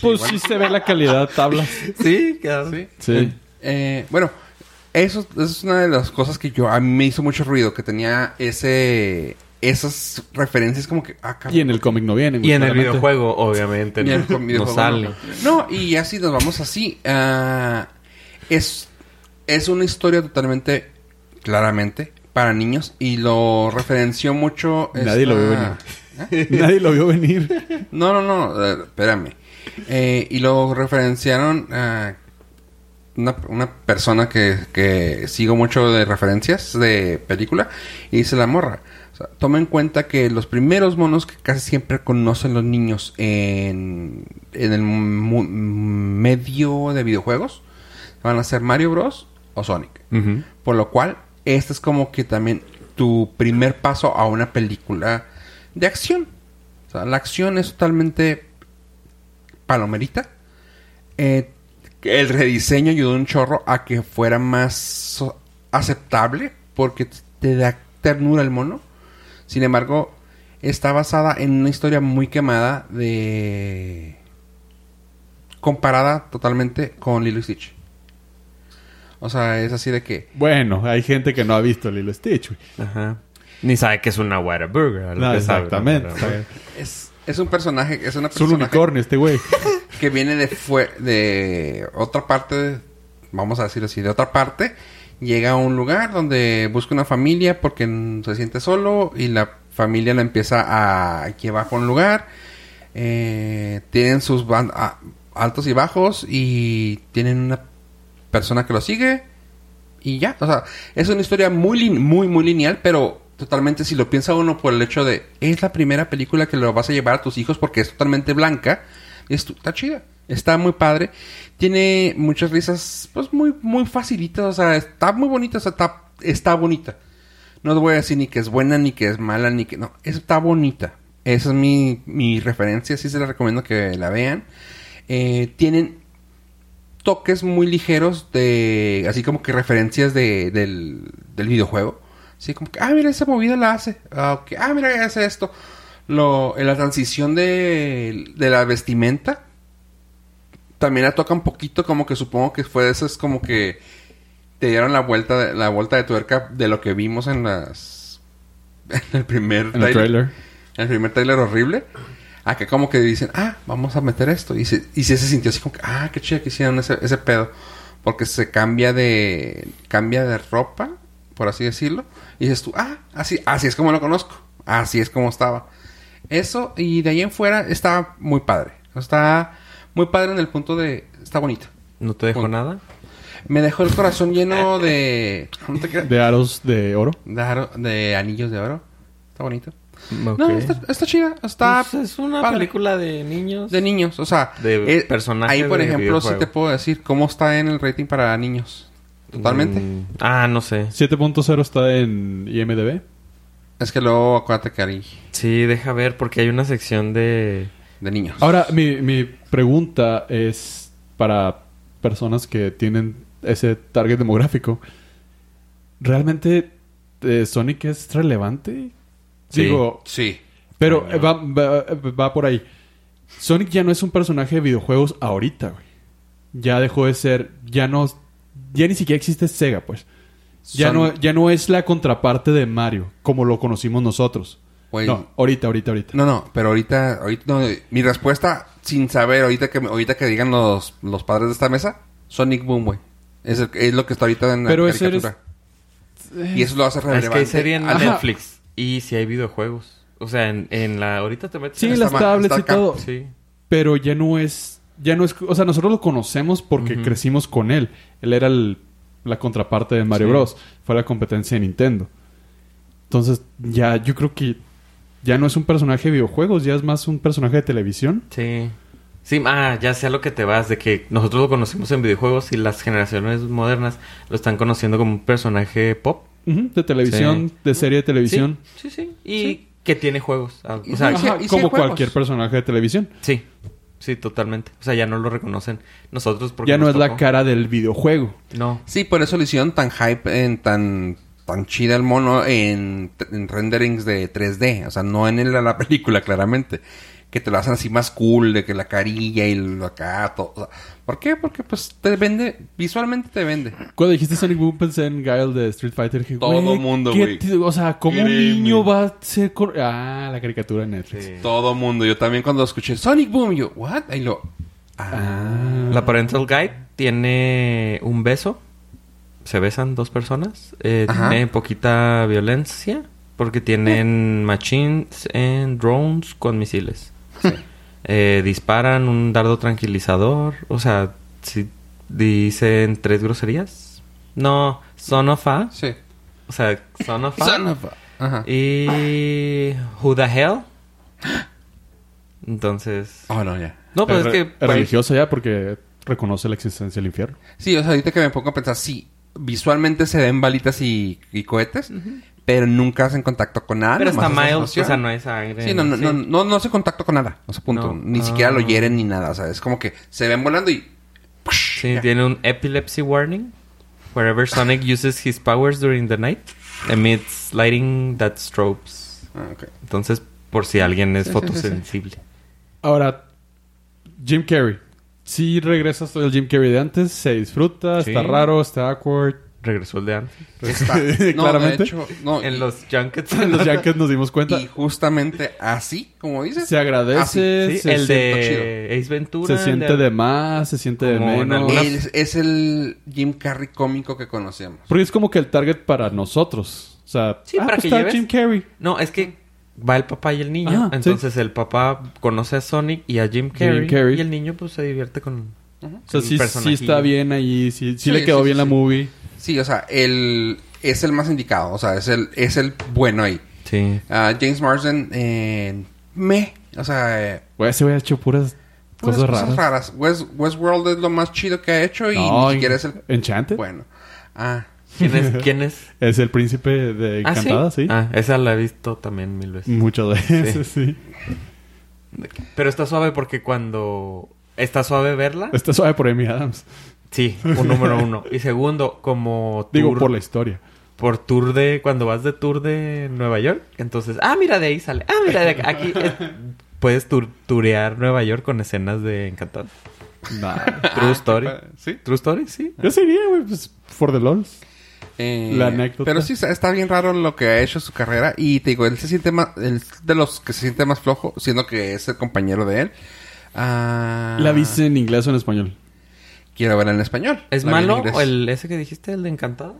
Pues sí se ve la calidad tablas. Sí, quedaron. Sí. Eh, bueno, eso, eso es una de las cosas que yo a mí me hizo mucho ruido. Que tenía ese esas referencias como que... Ah, cabrón. Y en el cómic no vienen. Y en el claramente. videojuego, obviamente, Ni no, el co- no videojuego, sale. No, No, y así nos vamos así. Ah, es, es una historia totalmente, claramente, para niños. Y lo referenció mucho. Nadie lo vio venir. ¿Eh? Nadie lo vio venir. No, no, no. eh, espérame. Eh, y lo referenciaron a una, una persona que, que sigo mucho de referencias de película. Y dice la morra. o sea, toma en cuenta que los primeros monos que casi siempre conocen los niños en, en el mu- medio de videojuegos van a ser Mario Bros. o Sonic. Ujú. Por lo cual, este es como que también tu primer paso a una película de acción. O sea, la acción es totalmente palomerita. Eh, el rediseño ayudó un chorro a que fuera más so- aceptable porque te da ternura el mono. Sin embargo, está basada en una historia muy quemada de... comparada totalmente con Lilo y Stitch. O sea, es así de que... Bueno, hay gente que no ha visto Lilo Stitch. güey. Ajá. Ni sabe que es una Whataburger. a lo No, que sabe, exactamente. ¿no? Es, es un personaje, es una Es un persona unicornio este güey. que viene de fue- de otra parte, vamos a decirlo así, de otra parte, llega a un lugar donde busca una familia porque n- se siente solo y la familia la empieza a llevar por un lugar. Eh, tienen sus ban- a- altos y bajos y tienen una persona que lo sigue y ya, o sea, es una historia muy lin- muy muy lineal, pero totalmente si lo piensa uno por el hecho de es la primera película que lo vas a llevar a tus hijos porque es totalmente blanca, es tu- está chida, está muy padre, tiene muchas risas pues muy muy facilitas, o sea, está muy bonita, o sea, está está bonita. No te voy a decir ni que es buena ni que es mala ni que no, está bonita. Esa es mi mi referencia, sí se la recomiendo que la vean. Eh, tienen toques muy ligeros de así como que referencias de, del, del videojuego así como que ah mira esa movida la hace ah, ok. ah mira hace esto lo en la transición de, de la vestimenta también la toca un poquito como que supongo que fue de esas como que te dieron la vuelta de, la vuelta de tuerca de lo que vimos en las en el primer En el trailer. el primer trailer horrible. Acá como que dicen, ah, vamos a meter esto. Y se, y sí se sintió así como que, ah, qué chido que hicieron ese, ese pedo. Porque se cambia de... Cambia de ropa, por así decirlo. Y dices tú, ah, así, así es como lo conozco. Así es como estaba. Eso, y de ahí en fuera está muy padre. Está muy padre en el punto de... Está bonito. ¿No te dejó nada? Me dejó el corazón lleno de... ¿no te creas? De aros de oro. De, aro- de anillos de oro. Está bonito. Ok. No, está, está chida. Está... Pues es una padre. película de niños. De niños, o sea, De eh, personaje Ahí, por de ejemplo, sí videojuego. te puedo decir cómo está en el rating para niños. Totalmente. Mm, ah, no sé. 7.0 está en IMDB. Es que luego acuérdate que hay Sí, deja ver porque hay una sección de... de niños. Ahora, mi, mi pregunta es para personas que tienen ese target demográfico. ¿Realmente eh, Sonic es relevante? Sí. Digo, sí. pero eh, va, va- va por ahí. Sonic ya no es un personaje de videojuegos ahorita, güey. Ya dejó de ser, ya no, ya ni siquiera existe Sega, pues. Ya Son- no, ya no es la contraparte de Mario, como lo conocimos nosotros. Güey. No, ahorita, ahorita, ahorita. No, no, pero ahorita, ahorita no, mi respuesta sin saber, ahorita que me- ahorita que digan los, los padres de esta mesa, Sonic Boom, güey. Es, el- es lo que está ahorita en la Pero eso eres- caricatura. Y eso lo hace relevante. Es que hay serie en Ah, Ajá. Netflix. Y si hay videojuegos. O sea, en, en la... Ahorita te metes... Sí, en Está las mal, tablets está y acá. todo. Sí. Pero ya no es. Ya no es. O sea, nosotros lo conocemos porque crecimos con él. Él era el- la contraparte de Mario Sí. Bros. Fue la competencia de Nintendo. Entonces, ya, yo creo que ya no es un personaje de videojuegos, ya es más un personaje de televisión. Sí. Sí, ah, ya sea lo que te vas, de que nosotros lo conocimos en videojuegos y las generaciones modernas lo están conociendo como un personaje pop. Ujú, de televisión, de serie de televisión. Sí, sí. sí. Y que tiene juegos. Ah, Y o sea, sí, y Ajá, sí hay como juegos. cualquier personaje de televisión. sí. Sí, totalmente. O sea, ya no lo reconocen nosotros porque Ya no nos es la tocó. cara del videojuego. No. Sí, por eso lo hicieron tan hype, en tan tan chida el mono en, en renderings de 3D, o sea, no en el- la película claramente, que te lo hacen así más cool, de que la carilla y el acá, todo. o sea, ¿Por qué? Porque pues te vende, visualmente te vende. Cuando dijiste Sonic Boom pensé en Guile de Street Fighter. Dije, Todo güey, mundo, ¿qué güey. ti- O sea, ¿cómo un Créeme. niño va a ser... cor- Ah, la caricatura de Netflix. Sí. Todo mundo, yo también cuando escuché Sonic Boom, yo, ¿what? Ahí lo... Ah. La Parental Guide tiene un beso. Se besan dos personas. Eh, Ajá. tiene poquita violencia. Porque tienen machines and drones con misiles. eh, disparan un dardo tranquilizador, o sea, si dicen tres groserías. No, son of a, Sí. o sea, son of a. Eh. Son of a- Ajá. Y who the hell? Entonces, Oh, no, ya. no, pues es que Re- religioso ya porque reconoce la existencia del infierno. Sí, o sea, ahorita que me pongo a pensar, sí, visualmente se ven balitas y, y cohetes, pero nunca hacen contacto con nada. pero está nomás es mild, o explosión. sea, no hay sangre. Sí, no, no, no, no, no hace contacto con nada. O sea, punto. No. Ni Ah. siquiera lo hieren ni nada. O sea, es como que se ven volando y... Sí, tiene un epilepsy warning. Wherever Sonic uses his powers during the night, emits lighting that strobes. Ah, ok. Entonces, por si alguien es Sí, sí, sí, sí. fotosensible. Ahora, Jim Carrey. Si regresas todo el Jim Carrey de antes, se disfruta, Sí. está raro, está awkward. Regresó el de antes. Está. No, Claramente. de hecho, no, En y- los junkets. En los Yankees nos dimos cuenta. Y justamente así, como dices. Se agradece, Ah, Sí, se, el siente de Ace Ventura. se el siente de más, se siente de Como en menos. algunas- Él es, es el Jim Carrey cómico que conocemos. Porque es como que el target para nosotros. O sea, Sí, para pues que está lleves. Jim Carrey. No, es que va el papá y el niño. Ah, sí. entonces el papá conoce a Sonic y a Jim Carrey. Carrey. Y el niño pues se divierte con... O sea, El sí, sí personajillo. está bien ahí, sí, sí Sí, le quedó sí, sí, bien la sí. movie. Sí, o sea, él es el más indicado. O sea, es el, es el bueno ahí. Sí. Ah, James Marsden, eh, me. O sea, eh, Güey, ese güey ha hecho puras, puras cosas, cosas raras. raras. West- Westworld es lo más chido que ha hecho y No, ni siquiera es el Enchanted. bueno. Ah, ¿Quién es? ¿Quién es? Es el príncipe de ¿Ah, Encantada, sí. Ah, esa la he visto también mil veces. Muchas veces, sí. Pero está suave porque cuando está suave verla, Está suave por Amy Adams. sí, un número uno. Y segundo, como Digo, tour- por la historia. por tour de, cuando vas de tour de Nueva York, entonces, ah, mira de ahí sale, ah, mira de acá- aquí. eh, puedes tur- turear Nueva York con escenas de Encantada. Ah, True Story. sí. True Story, Ah, sí. Yo sería, güey, pues, for the lols. Eh, La anécdota. Pero sí, está- está bien raro lo que ha hecho su carrera. Y te digo, él se siente más. Él es de los que se siente más flojo, siendo que es el compañero de él. Ah, ¿La viste en inglés o en español? Quiero verla en español. ¿Es La vi en malo inglés. o el ese que dijiste, el de Encantada?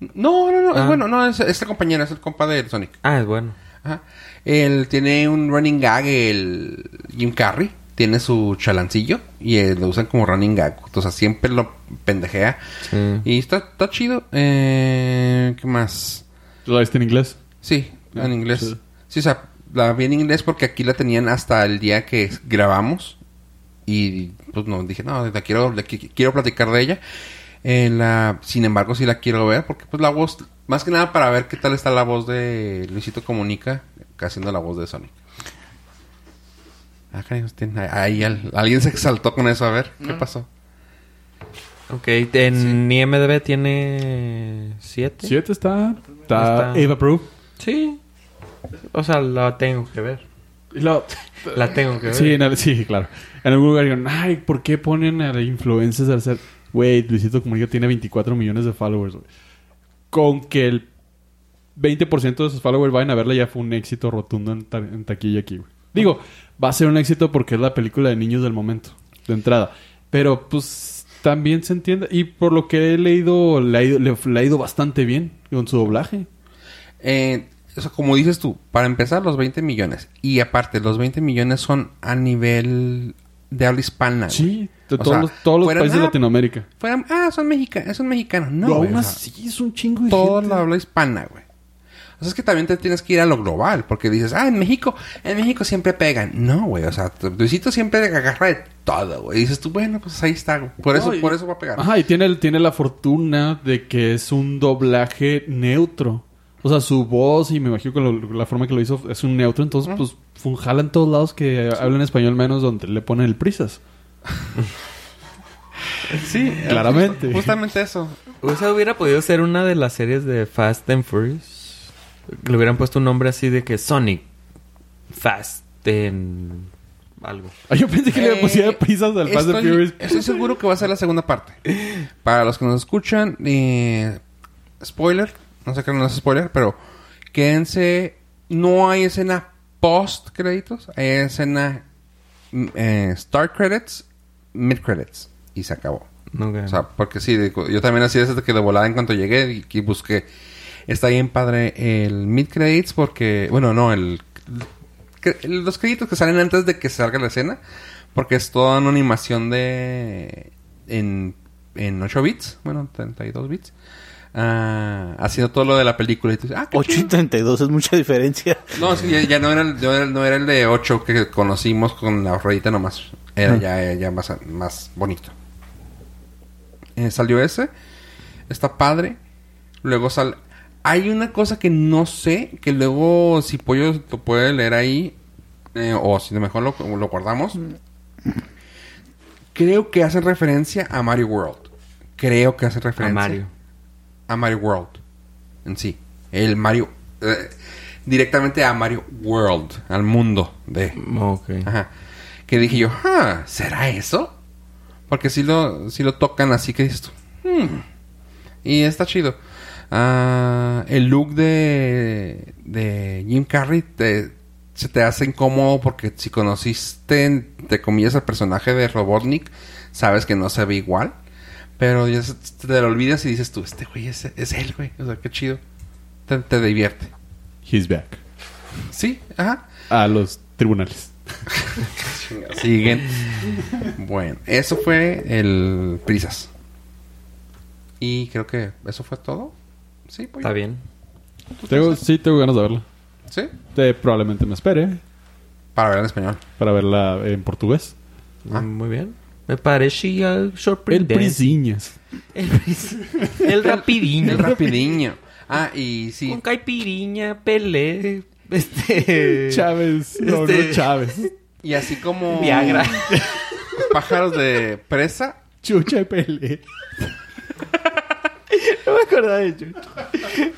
No, no, no. Ah. Es bueno, no, es, es el compañero, es el compa de Sonic. Ah, es bueno. Ajá. Él tiene un running gag, el Jim Carrey. Tiene su chalancillo y eh, lo usan como running gag. O sea, siempre lo pendejea. Sí. Y está, está chido. Eh, ¿Qué más? ¿La viste en inglés? Sí, en inglés. sí. Sí, o sea, la vi en inglés porque aquí la tenían hasta el día que grabamos. Y pues no, dije, no, la quiero, la qui- quiero platicar de ella. Eh, la, sin embargo, sí la quiero ver porque pues la voz, más que nada para ver qué tal está la voz de Luisito Comunica haciendo la voz de Sonic. Ah, cariño, tiene- ahí al- alguien se exaltó con eso, a ver, ¿qué pasó? Ok, en IMDB tiene siete. Siete está. Está Está- Ava Proof. Sí. O sea, la tengo que ver. La tengo que ver. Sí, en el- sí, claro. En algún lugar dijeron, ay, ¿por qué ponen a influencers al ser? Güey, Luisito Comunica tiene 24 millones de followers, güey. Con que el 20% de sus followers vayan a verla ya fue un éxito rotundo en, ta- en taquilla aquí, güey. Digo, va a ser un éxito porque es la película de niños del momento, de entrada. Pero, pues, también se entiende. Y por lo que he leído, le ha ido, le- le ha ido bastante bien con su doblaje. Eh, o sea, como dices tú, para empezar, los 20 millones. Y aparte, los 20 millones son a nivel de habla hispana. Ah, güey. Sí, de O todos, sea, los, todos los fuera países de nada- Latinoamérica. Fueran, ah, son, mexicanos, son mexicanos. No, Pero güey, aún o sea, así es un chingo de todo gente. la habla hispana, güey. O sea, es que también te tienes que ir a lo global, porque dices, ah, en México, en México siempre pegan. No, güey, o sea, tu- Luisito siempre agarra de todo, güey. Y dices tú, bueno, pues ahí está, güey. Por eso, No, y- por eso va a pegar. Ajá, y tiene, el- tiene la fortuna de que es un doblaje neutro. O sea, su voz y me imagino que lo- la forma que lo hizo es un neutro. Entonces, pues, funjala en todos lados que hablan español menos donde le ponen el prisas. Sí, claramente. Eh, justo- justamente eso. O sea, hubiera podido ser una de las series de Fast and Furious. Le hubieran puesto un nombre así de que Sonic Fast en algo. Ah, yo pensé que le Eh, pusiera prisas al Fast and estoy- Furious. Estoy seguro que va a ser la segunda parte. Para los que nos escuchan, eh, spoiler, no sé qué no es spoiler, pero quédense. No hay escena post créditos, hay escena mm, eh, start credits, mid credits y se acabó. Nunca. O sea, porque sí, de- yo también así es que de volada en cuanto llegué y, y busqué. Está bien padre el mid credits porque, bueno, no, el cre- los créditos que salen antes de que salga la escena, porque es toda una animación de en, en 8 bits, bueno, 32 bits, ah, haciendo todo lo de la película. Y tú dices, ah, qué 8 y chido. 32 es mucha diferencia. No, es que ya, ya no, era el, no, era, el- no era el de 8 que conocimos con la ruedita nomás. Era ya, ya más, más bonito. Eh, salió ese. Está padre. Luego sale... Hay una cosa que no sé, que luego si Pollo lo puede leer ahí, eh, o si de mejor lo, lo guardamos. Creo que hacen referencia a Mario World. Creo que hacen referencia Mario. a Mario World en sí. El Mario. eh, directamente a Mario World, al mundo de. Ok. Ajá. Que dije yo, "Ah, ¿será eso? Porque si lo, si lo tocan así que esto. Y está chido. Ah, el look de, de Jim Carrey te- se te hace incómodo porque si conociste, entre comillas, al personaje de Robotnik, sabes que no se ve igual. Pero ya se- te lo olvidas y dices tú, este güey es, es él, güey. O sea, qué chido. Te, te divierte. He's back. Sí, ajá. A los tribunales. Siguen. Bueno, eso fue el Prisas. Y creo que eso fue todo. Sí, pues. Está bien. Tengo, sí, tengo ganas de verla. Sí. Te- Eh, probablemente me espere Para ver en español. para verla en portugués. Ah. Muy bien. Me parecía El sorprendente. Prisiñas. El pris. El rapidinho. El rapidiño. Ah, y sí. Con caipirinha, Pelé. Este. Chávez. No, no, Este- Chávez. Y así como Viagra. pájaros de presa. Chucha y Pelé. No me acordaba de hecho.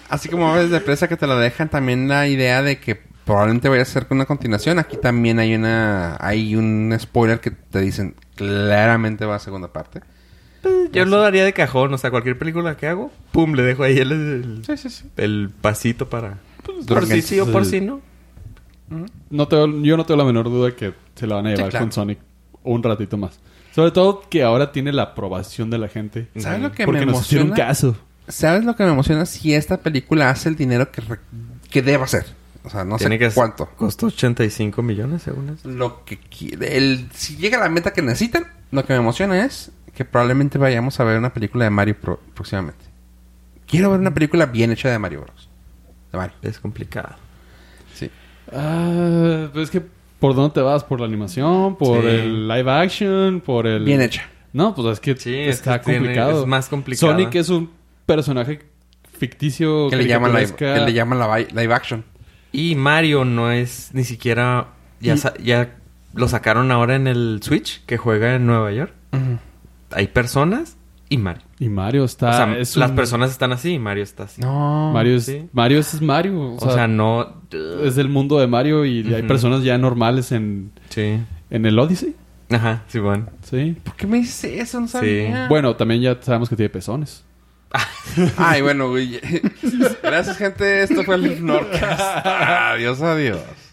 Así como aves de presa que te la dejan también la idea de que probablemente vaya a ser una continuación. Aquí también hay una. hay un spoiler que te dicen claramente va a segunda parte. Yo lo daría de cajón, o sea, cualquier película que hago, pum, le dejo ahí el, el, sí, sí. el pasito para. Pues, Por Durante- si sí o por si no. No tengo, yo no tengo la menor duda que se la van a llevar claro. con Sonic un ratito más. Sobre todo que ahora tiene la aprobación de la gente. ¿Sabes lo que porque me nos hicieron emociona? caso. ¿Sabes lo que me emociona? Si esta película hace el dinero que, re- que deba hacer. O sea, no sé Tiene que- cuánto. Costó 85 millones, según eso. Lo que qui- el, si llega a la meta que necesitan, lo que me emociona es que probablemente vayamos a ver una película de Mario pro- próximamente. Quiero ver una película bien hecha de Mario Bros. De Mario. Es complicado. Sí. Ah, pues es que ¿por dónde te vas? ¿Por la animación? ¿Por Sí. el live action? ¿Por el...? Bien hecha. No, pues es que Sí, es está que tiene- complicado. es más complicado. Sonic es un personaje ficticio. Que le llaman live, caricaturesca. que le llaman la vi- live action. Y Mario no es ni siquiera. Ya, sa- ya lo sacaron ahora en el Switch, que juega en Nueva York. Hay personas y Mario. Y Mario está... o sea, es las un- personas están así y Mario está así. No. Mario es, sí. Mario es Mario. O, o, sea, sea, eh, no. es del mundo de Mario y hay Ujú. personas ya normales en, Sí. en el Odyssey. Ajá, sí, bueno. Sí. ¿Por qué me dices eso? No sabía. Bueno, también ya sabemos que tiene pezones. Ay, bueno, güey. Gracias, gente. Esto fue el Norcast. Adiós, adiós.